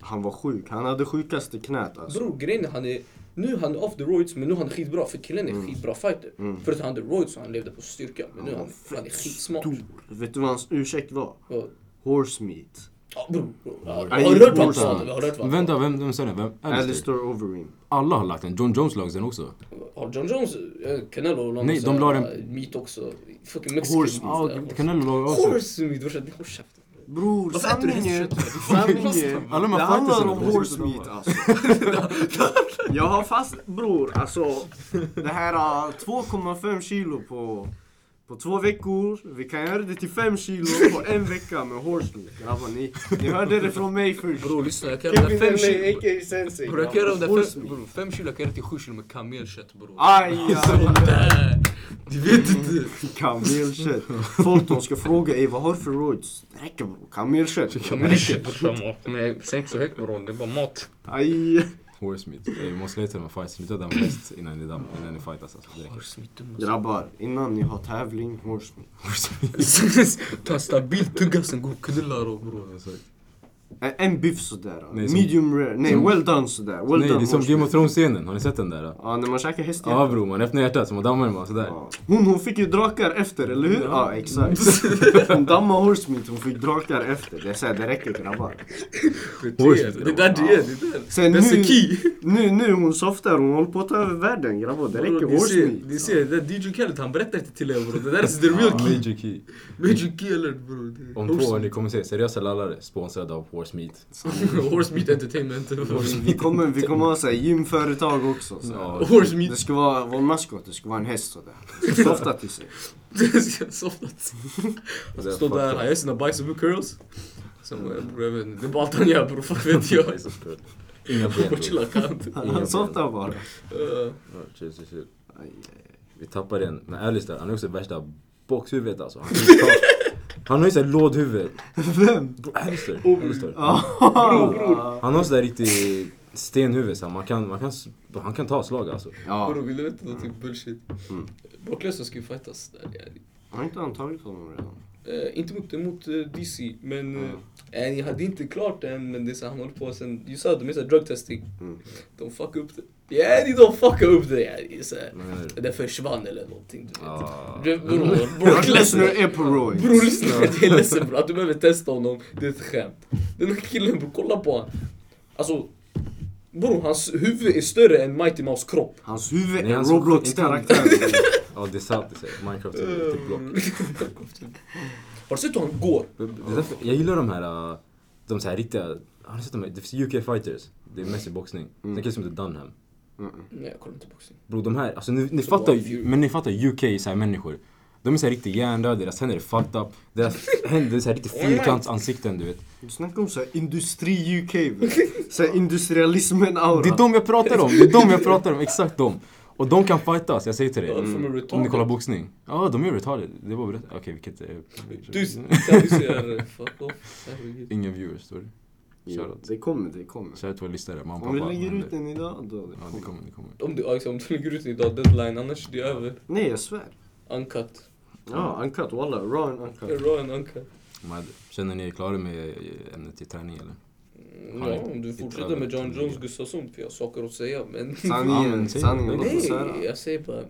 S1: han var sjuk. Han hade sjukaste knät alltså.
S5: Bror grejen är han är, nu är han off the roids men nu är han skitbra för killen är skitbra fighter. Förut han hade roids och han levde på styrka men nu är Mm. han, han är skitsmart.
S1: Stor. Vet du vad hans ursäkt var?
S5: Ja,
S1: Horse meat.
S5: ja, bror, bror. Ja, Har
S1: Nej,
S5: du hört vad han
S1: brorsan.
S5: sa? Har du hört vad
S4: Men
S5: han sa?
S4: vänta, vem, vem sa det? Vem? Alistair.
S1: Alistair Overy.
S4: Alla har lagt den. John Jones lagt den också.
S5: Har John Jones, eh, Canelo och någon
S4: Nej,
S5: sån
S4: de la
S5: här,
S4: den-
S5: eh, meat också? Fucking mexican
S1: Horse
S5: meat.
S4: Ja,
S5: där.
S4: Canelo lagade också.
S5: Horse meat brorsan, håll käften.
S1: Bror,
S5: Varför äter du
S1: sanningen...
S5: hästkött?
S1: Sanningen...
S4: Alla de här
S1: Det handlar
S4: fightersen
S1: om
S4: är
S1: horse
S4: precis
S1: meat alltså. Jag har fast... Bror, alltså. Det här äh, är 2,5 kilo på... På två veckor. Vi kan göra det till 5 kilo på en vecka med horse meat. Grabbar, ni, ni hörde det från mig först.
S3: Bror lyssna, jag kan göra
S1: Kevin
S3: fem
S1: Henley,
S3: kilo.
S1: a.k.a. Sensei.
S3: Bror jag kan göra de
S1: grabbar,
S3: där
S1: horse
S3: fem,
S1: meat.
S3: bror, fem kilo, jag kan göra till sju kilo med kamelkött bror.
S1: Aj, aj, aj.
S3: Du vet
S5: Mm.
S3: inte.
S1: Kamelkött. Folk de ska fråga ey vad har du för roids? Det räcker bror, kamelkött.
S3: Kamelkött brorsan, men sänk så högt bror, det är bara mat.
S1: Aj.
S4: Horse meat. Vi måste leta de här fights. Sluta damma häst innan ni dammar. Innan ni fightas alltså. Det räcker.
S3: Horse meat, du måste-
S1: Grabbar, innan ni har tävling, horse meat.
S4: Horse meat.
S3: Ta en stabil tugga sen gå och knulla då bror.
S4: Exakt.
S1: Eh, En biff sådär.
S4: Nej, som-
S1: Medium rare. Nej,
S4: som-
S1: well done sådär. Well
S4: Nej, det
S1: done
S4: är som
S1: horse
S4: Game of
S1: beef.
S4: Thrones-scenen. Har ni sett den där? då?
S1: Ja, när man käkar hästhjärta.
S4: Ja bror, man öppnar hjärtat så man dammar den bara sådär.
S1: Ja. Hon, hon fick ju drakar efter, eller hur? Ja, exakt. Hon dammade horsemeat, hon fick drakar efter. Det är såhär, det räcker grabbar.
S5: Det är det, där det är, det där.
S1: Sen
S5: That's the
S1: nu-
S5: key.
S1: Nu, nu hon softar, hon håller på att ta över världen grabbar. Det räcker
S5: Ni ser,
S1: horsemeat.
S5: ni ser, det där DJ Khaled han berättar inte till er bror. Det där är the real key.
S4: Major key.
S5: Major key alert bror. Det är
S4: Om två år liksom. ni kommer se seriösa lallare sponsrade av Horse Meat.
S5: Horse meat entertainment.
S1: Vi kommer, vi kommer ha såhär gymföretag också. Så.
S4: Ja.
S5: Horse
S1: Det
S5: meat.
S1: ska vara, vår maskot, det ska vara en häst sådär. Den ska Softa till sig.
S5: Det ska Somnat. Han ska stå
S4: Det är
S5: där, han gör sina bicep curls. Sen bara, bror jag vet inte, det är bara allt han gör bror. Fuck vet jag.
S4: Inga ben
S5: Bror
S4: bror.
S5: chilla kant.
S1: Han softar bara.
S5: Eh,
S4: Ja, Chill, chill, chill.
S1: Aj.
S4: Vi tappar en. Men Alice där, han är också värsta boxhuvudet alltså. Han, kan ju ta- han har ju såhär lådhuvud.
S1: Vem?
S4: Bro, Alistair. Alistair.
S1: Bror, bror.
S4: Han har sådär riktigt stenhuvud så här, man kan, man kan, s- han kan ta slag alltså.
S1: Ja,
S5: Bror vill du veta någonting bullshit?
S1: Mm.
S5: Brock Lesnar ska ju fightas där. ja.
S1: har inte han tagit honom redan?
S5: Eh, inte mot, mot eh, DC, men eh, eh, jag hade inte klart det än. Men det är så här, han håller på sen. You sa de är så här drug testing.
S1: Mm.
S5: De fuckar upp det. Ja, de- de fuckar upp det. Ja, det är så här.
S4: Vad menar du?
S5: eh, Det försvann eller någonting. Du vet.
S4: Ah.
S5: Du, bror,
S1: Brock
S5: Brock
S1: Lesnar
S5: Lesnar.
S1: är på Roy.
S5: Bror lyssna, jag är ledsen bror att du behöver testa honom. Det är ett skämt. Den här killen bror, kolla på han. Alltså, bror hans huvud är större än Mighty Mouse kropp.
S1: Hans huvud
S4: Nej,
S1: är
S4: hans-
S1: Roblox
S4: inte han-
S1: karaktär.
S4: Ja det är sant, det är sant. Minecraft är typ
S5: Mm.
S4: block.
S5: Har du sett hur han går?
S4: Det är därför, jag gillar de här, äh, de så här riktiga, har ni sett de här? Det finns UK fighters, det är mest i boxning. Sen kan det som heter Dunham.
S5: Nej jag kollar inte boxning.
S4: Bro, de här, alltså ni, ni fattar ju- men ni fattar ju UK så här människor. De är så här riktigt hjärndöda, deras händer är fucked up, deras händer är så här riktigt fyrkantsansikten du vet.
S1: Du snackar om såhär industri-UK. Såhär industrialismen-aura.
S4: Det är de jag pratar om, det är de jag pratar om, exakt de. Och de kan fightas, jag säger till dig.
S5: Ja, de är retarded.
S4: Om ni kollar boxning. Ja, de är retarded. Det var berättat. Okej, eh, vi kan inte...
S5: Du,
S4: Mm.
S5: kan du ser, fuck off. Herregud.
S4: Inga viewers, står det.
S1: Jo,
S4: Shoutout.
S1: det kommer, det kommer.
S4: Shoutout till våra lyssnare, mamma,
S1: Om vi
S4: pappa.
S1: lägger
S4: men-
S1: ut den idag då. Det
S4: Ja, det kommer, det kommer.
S5: Om du, ja, exakt, om du lägger ut den idag, deadline, annars är det över.
S1: Nej, jag svär.
S5: Uncut.
S1: Ja, uncut, walla. Raw and
S5: Det är
S1: uncut.
S5: raw and uncut.
S4: Men, känner ni er klara med eh, ämnet till träning eller?
S5: Mm,
S4: Har ni
S5: Ja, om du
S4: inte
S5: fortsätter
S4: över
S5: med John
S4: tio?
S5: Jones Gustafsson, för jag har saker att säga, men...
S4: Ja, men
S1: Sanningen,
S4: säg-
S1: sanningen. Låt oss höra.
S5: Nej, jag säger bara...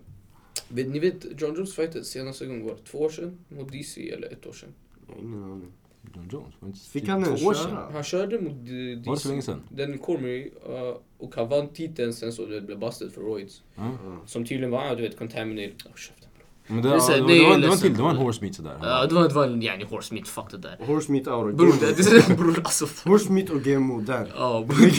S5: Vet, ni vet, John Jones fighter senaste gången var två år sedan mot DC, eller ett år sedan.
S1: Jag har Ingen aning.
S4: John Jones? Var det inte
S1: Fick
S4: typ
S1: han den
S4: två år
S1: köra?
S4: sedan?
S5: Han körde mot eh,
S4: Var det så länge
S5: DC,
S4: sedan?
S5: Danny Cormier, eh, och han vann titeln sen så det blev busted för roids.
S4: Ja.
S5: Som tydligen var, ah, du vet, contaminated. Oh, käften.
S4: Men det,
S2: Det är så här,
S4: ja, det, var-
S2: nej,
S4: det, var, det var en
S2: ledsen.
S4: till, det var en horse meat sådär.
S2: Ja, det var, det var en yani horse meat, fuck det där.
S1: Horse meat aura.
S2: Bror, det, det är bror alltså. f-
S1: Horse meat och GMO där.
S5: Ja, men-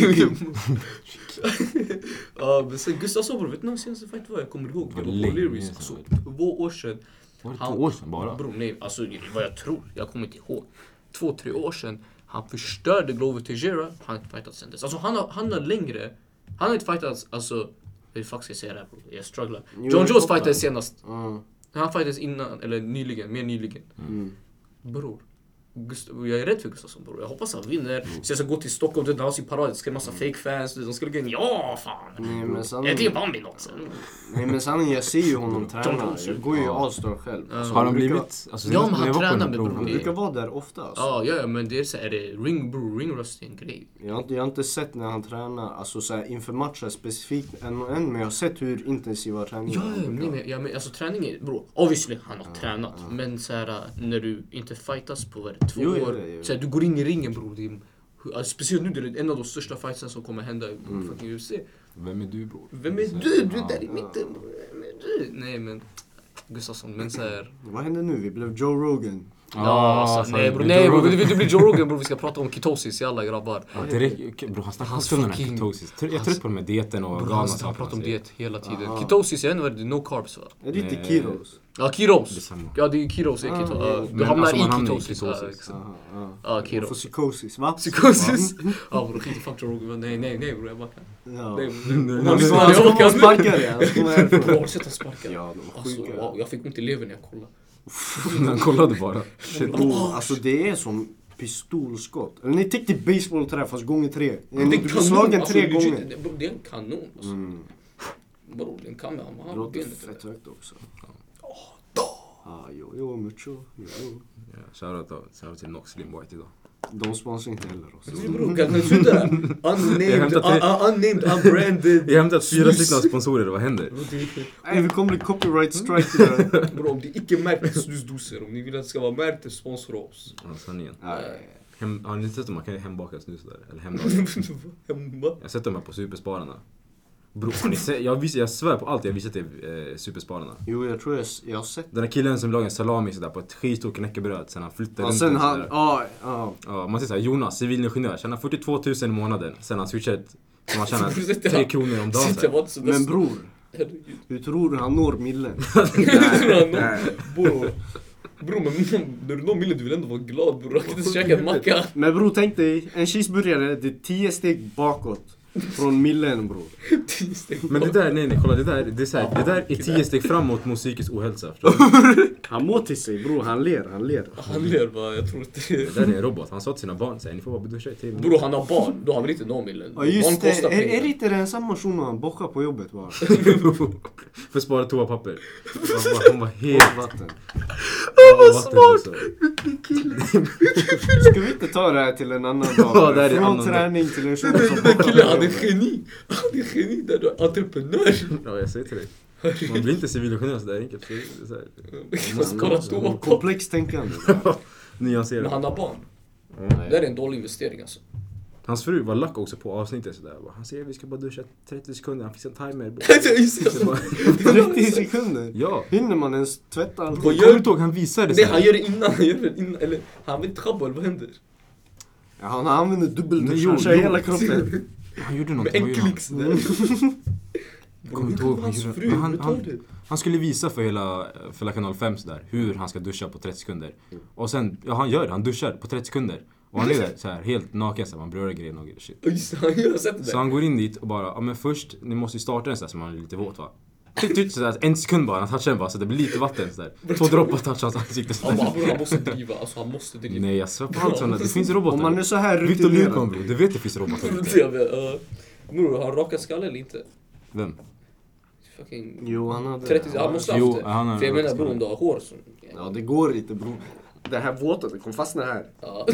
S5: ja men sen Gustafsson bror, vet ni vad senaste fight var? Jag kommer ihåg. Det
S4: Vad
S5: var
S4: länge
S5: O'Learys.
S4: sedan.
S5: Alltså två år sedan.
S4: Var det
S2: Han-
S4: två år sedan bara?
S2: Bror nej, alltså vad jag tror, jag kommer inte ihåg. Två, tre år sedan, han förstörde Glover Tejera, han har inte fightats sen dess. Alltså han har, han har längre, han har inte fightats, alltså, hur fuck ska jag säga det här bror? Jag strugglar.
S1: Jo, jag
S2: John Jones
S1: fattar.
S2: fightades senast,
S1: Ja.
S2: han fightades innan, eller nyligen, mer nyligen.
S1: Mm.
S2: Bror. Gustav, jag är rädd för Gustafsson bror. Jag hoppas han vinner. Så jag ska gå till Stockholm, du vet, han ska i paraden, ska en massa fake fans. De skulle gå in, ja fan.
S1: Nej men
S2: Jag
S1: sanningen,
S5: typ-
S2: drev Bambi något sen.
S1: nej, men sanningen jag ser ju honom träna.
S2: Jones,
S1: Jag går ju i
S4: ja.
S1: Allstar själv. Alltså,
S4: Har han
S1: brukar-
S4: blivit... Alltså,
S2: Ja,
S4: senast
S2: men
S4: när
S2: han
S4: jag var på den
S2: tränar
S4: här
S2: med
S4: proven-
S1: Han brukar vara där ofta alltså.
S2: Ja, ja, ja, men det är så här, det är ring bror, ring rust är en grej.
S1: Jag, har inte, jag har inte sett när han tränar, alltså så här, inför matcher specifikt än och än. Men jag har sett hur intensiva
S2: Ja,
S1: träningar
S2: ja,
S1: han
S2: nej,
S1: brukar ha.
S2: men, ja, men alltså träning är, bror, obviously han har tränat. Men så här, när du inte fightas på vad är det, två
S1: Jo, jo,
S2: år.
S1: jo, jo.
S2: Så här, du går in i ringen bror. Det är, alltså, speciellt nu, det är en av de största fightsen som kommer hända i fucking UFC.
S4: Vem är du bror?
S5: Vem är
S4: Så här,
S5: du? Du är
S4: ja.
S5: där i mitten bror. Vem är du?
S2: Nej men, Gustafsson, men så här.
S1: Vad hände nu? Vi blev Joe Rogan.
S2: Ja,
S4: Ah,
S2: alltså, nej
S4: sorry,
S2: bror,
S4: det är Joe
S2: nej bror,
S4: Rogan.
S2: vill du- vill du bli Joe Rogan bror? Vi ska prata om ketosis, jalla grabbar.
S4: Ja, direkt, okej, bror han snackar
S2: Hans
S4: också om den här
S2: fucking-
S4: ketosis. Jag är
S2: hans-
S4: trött på de här dieten och
S2: Bror,
S4: organ och
S2: han,
S4: sånt.
S2: alltså, han pratar om
S4: säger.
S2: diet hela tiden.
S1: Aha.
S2: Ketosis, jag vet inte vad det är, no carbs va?
S1: Är det inte
S4: Nej.
S1: Kiros?
S2: Ja, kiros.
S4: Detsamma.
S2: Ja, det är kiros. Är keto,
S1: Ah,
S2: ja,
S4: men
S2: du hamnar
S4: alltså, man
S2: i
S4: hamnar i
S2: ketosis. liksom. Ja,
S4: ketosis.
S2: exakt.
S1: Jaha, ja.
S2: Ja,
S1: Man får
S2: kiros.
S1: psykosis va?
S2: Psykosis. Ah,
S5: Ja bror skit i fuck Joe Rogan. Nej nej nej bror jag backar.
S1: Ja.
S5: Nej,
S1: Om
S5: nej.
S1: man ska-
S5: Jag
S1: om
S5: orkar
S1: man
S5: inte.
S1: sparkar det, annars kommer jag
S5: Bror har
S1: härifrån.
S5: du sett han sparkar?
S1: Ja, de är
S5: Alltså
S1: sjuka.
S5: wow, jag fick ont i levern när jag kollade.
S4: Han kollade bara.
S1: Bro, alltså det är som pistolskott. Eller nej, tänk dig baseballträ fast gånger tre. Du blir slagen
S5: alltså,
S1: tre
S5: legit,
S1: gånger.
S5: det- bror, Det är en kanon alltså.
S1: Mm.
S5: Bror det är en kanon. Han
S1: Det
S5: har
S1: låter
S5: benet där.
S1: fett högt också. Ah, jo, jo, mucho. Jo.
S4: Shoutout till Nox Slim White idag.
S1: De sponsrar inte heller oss.
S5: Bror, kan du sluta? Unnamed,
S4: hämtar tre-
S5: un- un- unnamed, unbranded.
S4: Jag har hämtat fyra stycken sponsorer, vad händer?
S2: Mm.
S1: Nej, vi kommer bli copyright strike där.
S5: Bror, om det är icke märkt snusdosor, om ni vill att det ska vara märkt, sponsra oss.
S4: Ja, sanningen.
S1: Nej.
S4: Hem, har ni sett att man kan hembaka snus där? Eller hemlaga?
S5: Hemma.
S4: Jag har sett dem här på Superspararna. Bror, har ni sett? Jag, vis, jag svär på allt jag har visat till eh, Superspararna.
S1: Jo, jag tror jag, s- jag har sett.
S4: Den där killen som lagade salami sådär på ett skitstort knäckebröd sen han flyttade
S1: Ja,
S4: runt
S1: sen
S4: den
S1: han,
S4: sådär.
S1: ja, ja.
S4: Ja, man ser såhär, Jonas, civilingenjör, tjänar 42 000 i månaden. Sen han switchar ett, som han tjänar
S5: Sitter
S4: 3
S5: han-
S4: kronor om dagen.
S5: Sitter
S4: såhär.
S5: vad som
S1: Men
S5: helst.
S1: bror,
S5: Herregud.
S1: hur tror du han når millen?
S5: Bror, bror, men när du når millen, du vill ändå vara glad bror. Jag kan inte ens käka en macka.
S1: Men bror, tänk dig, en cheeseburgare, det är 10 steg bakåt. Från millen bror.
S5: Tio steg
S4: Men det
S5: bak.
S4: där, nej nej, kolla det där, det är, så här, det där är 10 steg framåt mot psykisk ohälsa. Förstår du?
S1: Han mår till sig bror, han ler, han ler.
S5: Han ler bara, jag tror inte...
S4: Det där är en robot, han sa till sina barn såhär, ni får bara duscha i 10 minuter.
S5: Bror han har barn, då har väl inte nå millen?
S1: Ja just
S5: barn
S1: det,
S5: kostar
S1: är, är det
S5: pengar.
S1: inte den samma shunon han bockar på jobbet bara?
S4: För att spara toapapper. Han var, han var helt
S1: Vatten.
S4: Vad smart!
S1: Ska vi inte ta det här till en annan dag?
S4: Ja, det här är en
S1: Från
S4: annan dag.
S1: träning till en
S5: Den
S1: shuno som
S5: där
S1: bockar
S5: killen, han
S1: på
S5: är
S1: jobbet.
S5: geni! Han är geni där du är entreprenör!
S4: Ja, jag säger till dig. Man blir inte civilingenjör sådär enkelt. Så det är så här,
S5: Man kollar
S1: Mm,
S5: toapapper.
S1: Komplext tänkande.
S5: Men han
S4: nyanserat.
S5: har barn. Det här är en dålig investering alltså.
S4: Hans fru var lack också på avsnittet sådär. Bara, Han säger vi ska bara duscha 30 sekunder, han fixar en timer. Så bara,
S1: 30 sekunder?
S4: ja.
S1: Hinner man ens tvätta allt?
S5: Vad
S4: Kommer du
S5: gör
S4: inte ihåg, han visade
S5: Nej han
S4: såhär.
S5: gör det innan, han gör det innan, eller han vill trappa eller vad händer?
S1: Ja, han använder
S4: Nej,
S1: dubbeldusch,
S4: jo,
S1: han kör
S4: jo.
S1: hela kroppen.
S4: Han gjorde
S5: Med
S4: någonting. vad
S5: en
S4: gjorde han?
S5: klick sådär.
S4: kommer inte ihåg,
S5: Bror,
S4: han
S5: hans
S4: gjorde-
S5: fru
S4: men han-
S5: betalade.
S4: Han skulle visa för hela, för hela kanal 5 sådär, hur han ska duscha på 30 sekunder. Och sen, ja han gör det, han duschar på 30 sekunder. Och han är där såhär helt naken såhär, man berör grejen och shit.
S5: Ja, Just det, han gör, jag har sett det
S4: Så
S5: där.
S4: han går in dit och bara, ja men först, ni måste ju starta den sådär så man är lite våt va? Typ, typ sådär, en sekund bara, han touchar den bara så det blir lite vatten sådär. Två droppar touchar hans ansikte
S5: Han bara
S4: sådär.
S5: bror han måste driva, alltså han måste driva.
S4: Nej jag svär på allt sådana, det finns robotar.
S1: Om man är så här
S4: Victor
S1: rutinerad.
S4: Lukon bror, du vet det finns robotar
S5: Bror,
S4: ute.
S5: jag vet, ja. Bror har han rakat skalle eller inte?
S4: Vem?
S5: Fucking...
S1: Jo, han hade
S5: 30, han måste ha
S4: Jo,
S5: haft det.
S4: han har
S5: För jag
S4: rakat
S5: menar bror om du har hår som...
S1: Ja, det går inte bror. Det här våta, det kom fastna här.
S5: Ja.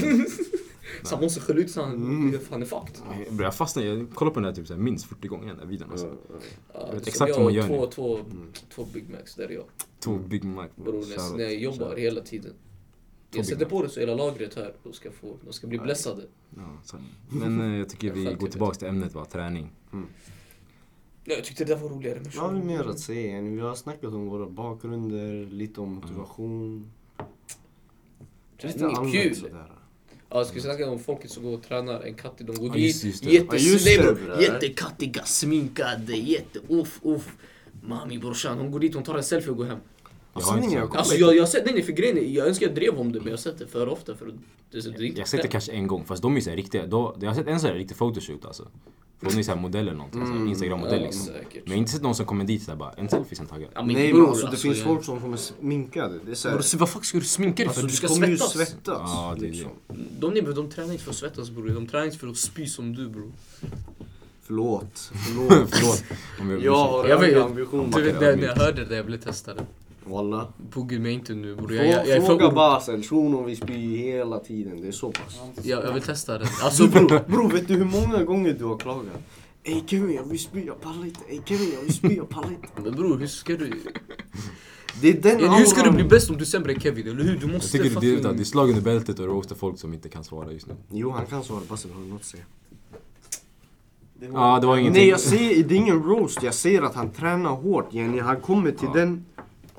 S5: så han måste skölja ut så
S4: Mm.
S5: han, han är fucked.
S4: Jag börjar fastna, jag kollar på den här typ såhär, minst 40 gånger den där videon alltså.
S5: Ja,
S4: Jag vet
S5: så
S4: exakt
S5: jag
S4: hur man
S5: har
S4: gör Mm.
S5: två, två, två Big Macs, där är jag.
S4: Tog Big Mac.
S5: Bror Mm. när,
S4: Shoutout.
S5: när jag jobbar
S4: Shoutout.
S5: hela tiden.
S4: Big
S5: Jag sätter
S4: Mac.
S5: på det så hela lagret här, de ska, få, de ska bli blessade.
S4: Ja, sant. Men eh, jag tycker
S5: Jag
S4: vi
S5: själv
S4: går
S5: typ
S4: tillbaka till ämnet va, träning.
S5: Nej, jag tyckte det där var roligare. Men
S1: Vad har vi mer att säga? Vi har snackat om våra bakgrunder, lite om motivation.
S5: Det
S1: Lite
S5: är
S1: annat
S5: kul.
S1: sådär.
S5: Ja, ska vi snacka om folket som går och tränar en katt i de går
S4: Ja,
S5: dit.
S4: just- just det.
S1: Ja, just det,
S2: Jättesnygg,
S1: bror.
S2: jättekattiga, sminkade, jätte... Uff, uff. Mami brorsan, hon går dit, hon tar en selfie och går hem.
S4: Jag har
S1: Sanningen,
S4: inte
S1: jag
S4: så-
S1: kom-
S5: Alltså jag, jag har sett, nej nej för grejen är, jag önskar jag drev om det men jag har sett det för ofta för att det, det är inte
S4: Jag sett det kanske en gång, fast de är ju såhär riktiga. Då, jag har sett en sån här riktig photoshoot alltså. För hon är såhär modell eller någonting, mm. instagrammodell
S5: Ja,
S4: liksom.
S5: säkert.
S4: Men jag har inte sett någon som kommer dit såhär bara, en selfie sen taggar.
S2: Ja, min
S1: Nej
S2: bror,
S1: men alltså det finns
S2: jag-
S1: folk som kommer sminkade. Det är såhär.
S2: Bror, så vad fuck ska du sminka dig för?
S1: Alltså
S2: Du ska
S1: kommer ju
S2: svettas.
S1: svettas.
S4: Ja, det är det.
S1: liksom.
S2: De, de, de tränar inte för att svettas bror, de tränar inte för att spy som du bror.
S1: Förlåt. Förlåt.
S4: Förlåt om jag
S1: Jag har
S2: Jag vet,
S1: höga
S2: jag-
S1: ambitioner.
S2: Du vet när när jag hörde det, jag blev testad.
S1: Walla.
S2: Bugger mig inte nu bror. Jag,
S1: Frå-
S2: jag, jag, är för
S1: Fråga
S2: ord-
S1: Basel, shunon vi spyr hela tiden. Det är så pass.
S2: jag, jag vill testa det. Alltså bror.
S1: Bro, vet du hur många gånger du har klagat? Ey Kevin, jag vill spy, jag pallar inte. Ey Kevin, jag vill spy, jag pallar inte.
S2: Men bror hur ska du...
S1: Det är den
S2: Hur ska du
S1: auran.
S2: bli bäst om du är sämre än Kevin? Eller hur? Du
S4: Jag
S2: måste
S4: tycker det är, det är slag under bältet och roasta folk som inte kan svara just nu.
S1: Jo, han kan svara. Basel har du något att säga?
S4: Ja, det var ingenting.
S1: Nej, jag ser, det är ingen roast. Jag ser att han tränar hårt, Jenny. Han kommer till den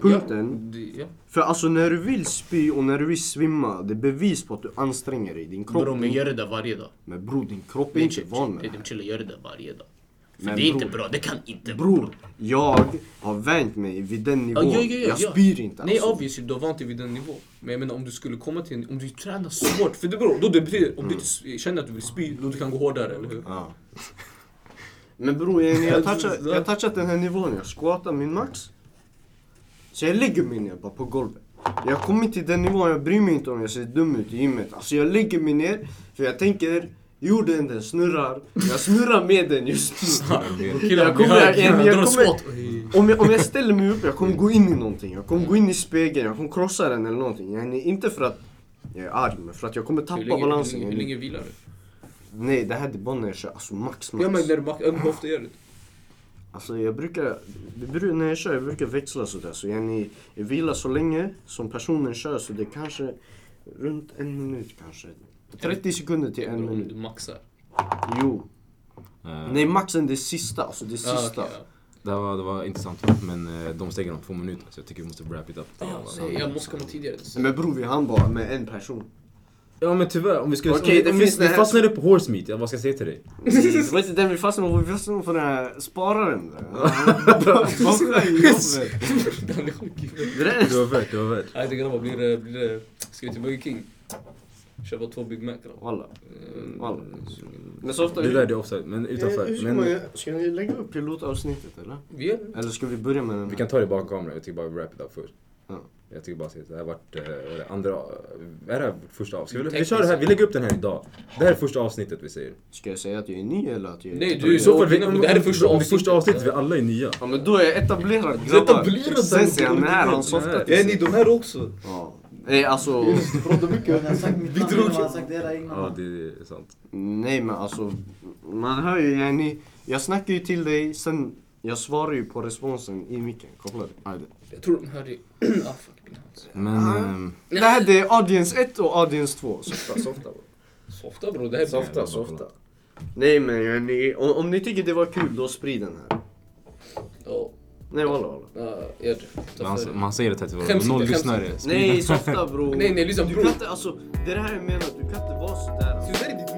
S1: punkten.
S2: Det- Ja.
S1: För alltså när du vill spy och när du vill svimma, det är bevis på att du anstränger dig. Din kropp...
S2: Bror men gör det där varje dag.
S1: Men bror, din kropp är inte van med det.
S2: det. Chilla, gör det där varje dag. För
S1: Men
S2: det är inte
S1: bror.
S2: bra, det kan inte vara bra.
S1: Bror, jag har vant mig vid den
S2: Ja,
S1: nivån.
S2: ja, ja, ja,
S1: jag
S2: ja.
S1: spyr inte.
S5: Nej
S1: alltså.
S5: obviously, du har vant dig vid den nivån. Men jag menar om du skulle komma till en, om du tränar svårt. För det beror, då det betyder,
S1: Mm.
S5: om du inte s- känner att du vill spy, då du kan gå hårdare, eller hur?
S1: Ja. Men bror, jag, jag, touchar, jag har touchat den här nivån. Jag squatar min max. Så jag lägger mig ner bara på golvet. Jag har kommit till den nivån, jag bryr mig inte om jag ser dum ut i gymmet. Alltså jag lägger mig ner, för jag tänker jorden den snurrar. Jag snurrar med den just nu. Jag kommer- jag- jag- jag kommer- Om jag, om jag ställer mig upp, jag kommer gå in i någonting. Jag kommer gå in i spegeln, jag kommer krossa den eller någonting. Jag är inte för att jag är arg men för att jag kommer tappa
S5: Hur länge,
S1: balansen.
S5: hur, länge, hur länge vilar du?
S1: Nej det här är bara när jag kör alltså max max.
S5: Ja men när du max, ja, men hur ofta gör du det?
S1: Alltså jag brukar, det beror, när jag kör jag brukar växla sådär så jag, ni, jag vilar så länge som personen kör så det är kanske runt en minut kanske. 30 sekunder till en
S5: Om du
S1: minut.
S5: maxar.
S1: Jo.
S4: Eh,
S1: Nej maxen det är sista, alltså det är
S5: Ja,
S1: sista.
S5: Ah, okej,
S4: Det här var, det var intressant men eh, de steg om två minuter så jag tycker vi måste wrap it up.
S5: ja. Ja, så jag måste komma tidigare.
S1: Nej, Men bror vi hann bara med en person.
S4: Ja men tyvärr, om vi skulle...
S1: Okej,
S4: om vi,
S1: det
S4: om
S1: finns
S4: vi,
S1: det
S4: vi
S1: här-
S4: fastnade på horse meat, ja, vad ska jag säga till dig?
S1: Det var inte den vi fastnade på, vi fastnade på den här spararen. där. Bara i jobbet.
S5: Han är sjuk i huvudet.
S1: Det där
S4: Det var värt, det var värt.
S5: Nej, det grabbar, blir det, blir det... Ska vi till Burger King? Köpa två Big Mac grabbar.
S1: Walla.
S5: Eh,
S1: Walla. Men så ofta... Eh,
S4: Det där det är offside, men utanför. Men
S1: Ska ni lägga upp pilotavsnittet eller?
S5: Vi gör det.
S1: Eller ska vi börja med den
S4: vi kan ta det bakom kameran, jag tycker bara wrap it up först.
S1: Ja.
S4: Jag tycker bara att det här vart eh, andra... Är det här vårt första avsnitt? Ska vi, vi
S5: Tekniskt.
S4: kör det här, vi lägger upp den här idag. Det här är första avsnittet vi säger.
S1: Ska jag säga att jag är ny eller att jag är...
S5: Nej, du-
S4: Men I så fall, vi,
S5: Det här är
S4: om, det här är första avsnittet.
S5: avsnittet.
S4: första avsnittet, vi alla är nya.
S1: Ja men då är jag etablerad grabbar.
S5: Etablerad,
S1: Sen ser
S5: grabbar.
S1: han här, han softar
S5: Jag är ni, de här också.
S1: Ja. Nej alltså,
S6: Jag har sagt mitt namn och han har sagt era egna
S4: Ja,
S6: namn.
S4: det är sant.
S1: nej men alltså. Man hör ju, jag är ny. Jag snackar ju till dig, sen jag svarar ju på responsen i micken. Kolla det.
S5: Jag tror de hörde... Ah, fuck min hals.
S4: Men...
S1: Ja.
S4: ehm,
S1: Det här det är audience 1 och audience 2. Softa, softa.
S5: Softa bror, det här är...
S4: Softa, softa.
S1: Nej men jag är ny. Om, om ni tycker det var kul då sprid den här.
S5: Ja,
S1: Nej walla walla.
S5: ja, gör det. Ta för
S4: Man,
S5: dig.
S4: man säger det till varandra,
S5: Skäms
S4: noll
S5: inte, skäms
S4: lyssnare.
S5: inte.
S1: Nej softa bror.
S5: Nej, nej, lyssna,
S1: du
S5: bror.
S1: kan inte, alltså det är det här jag menar, du kan inte vara sådär.
S5: Du är ditt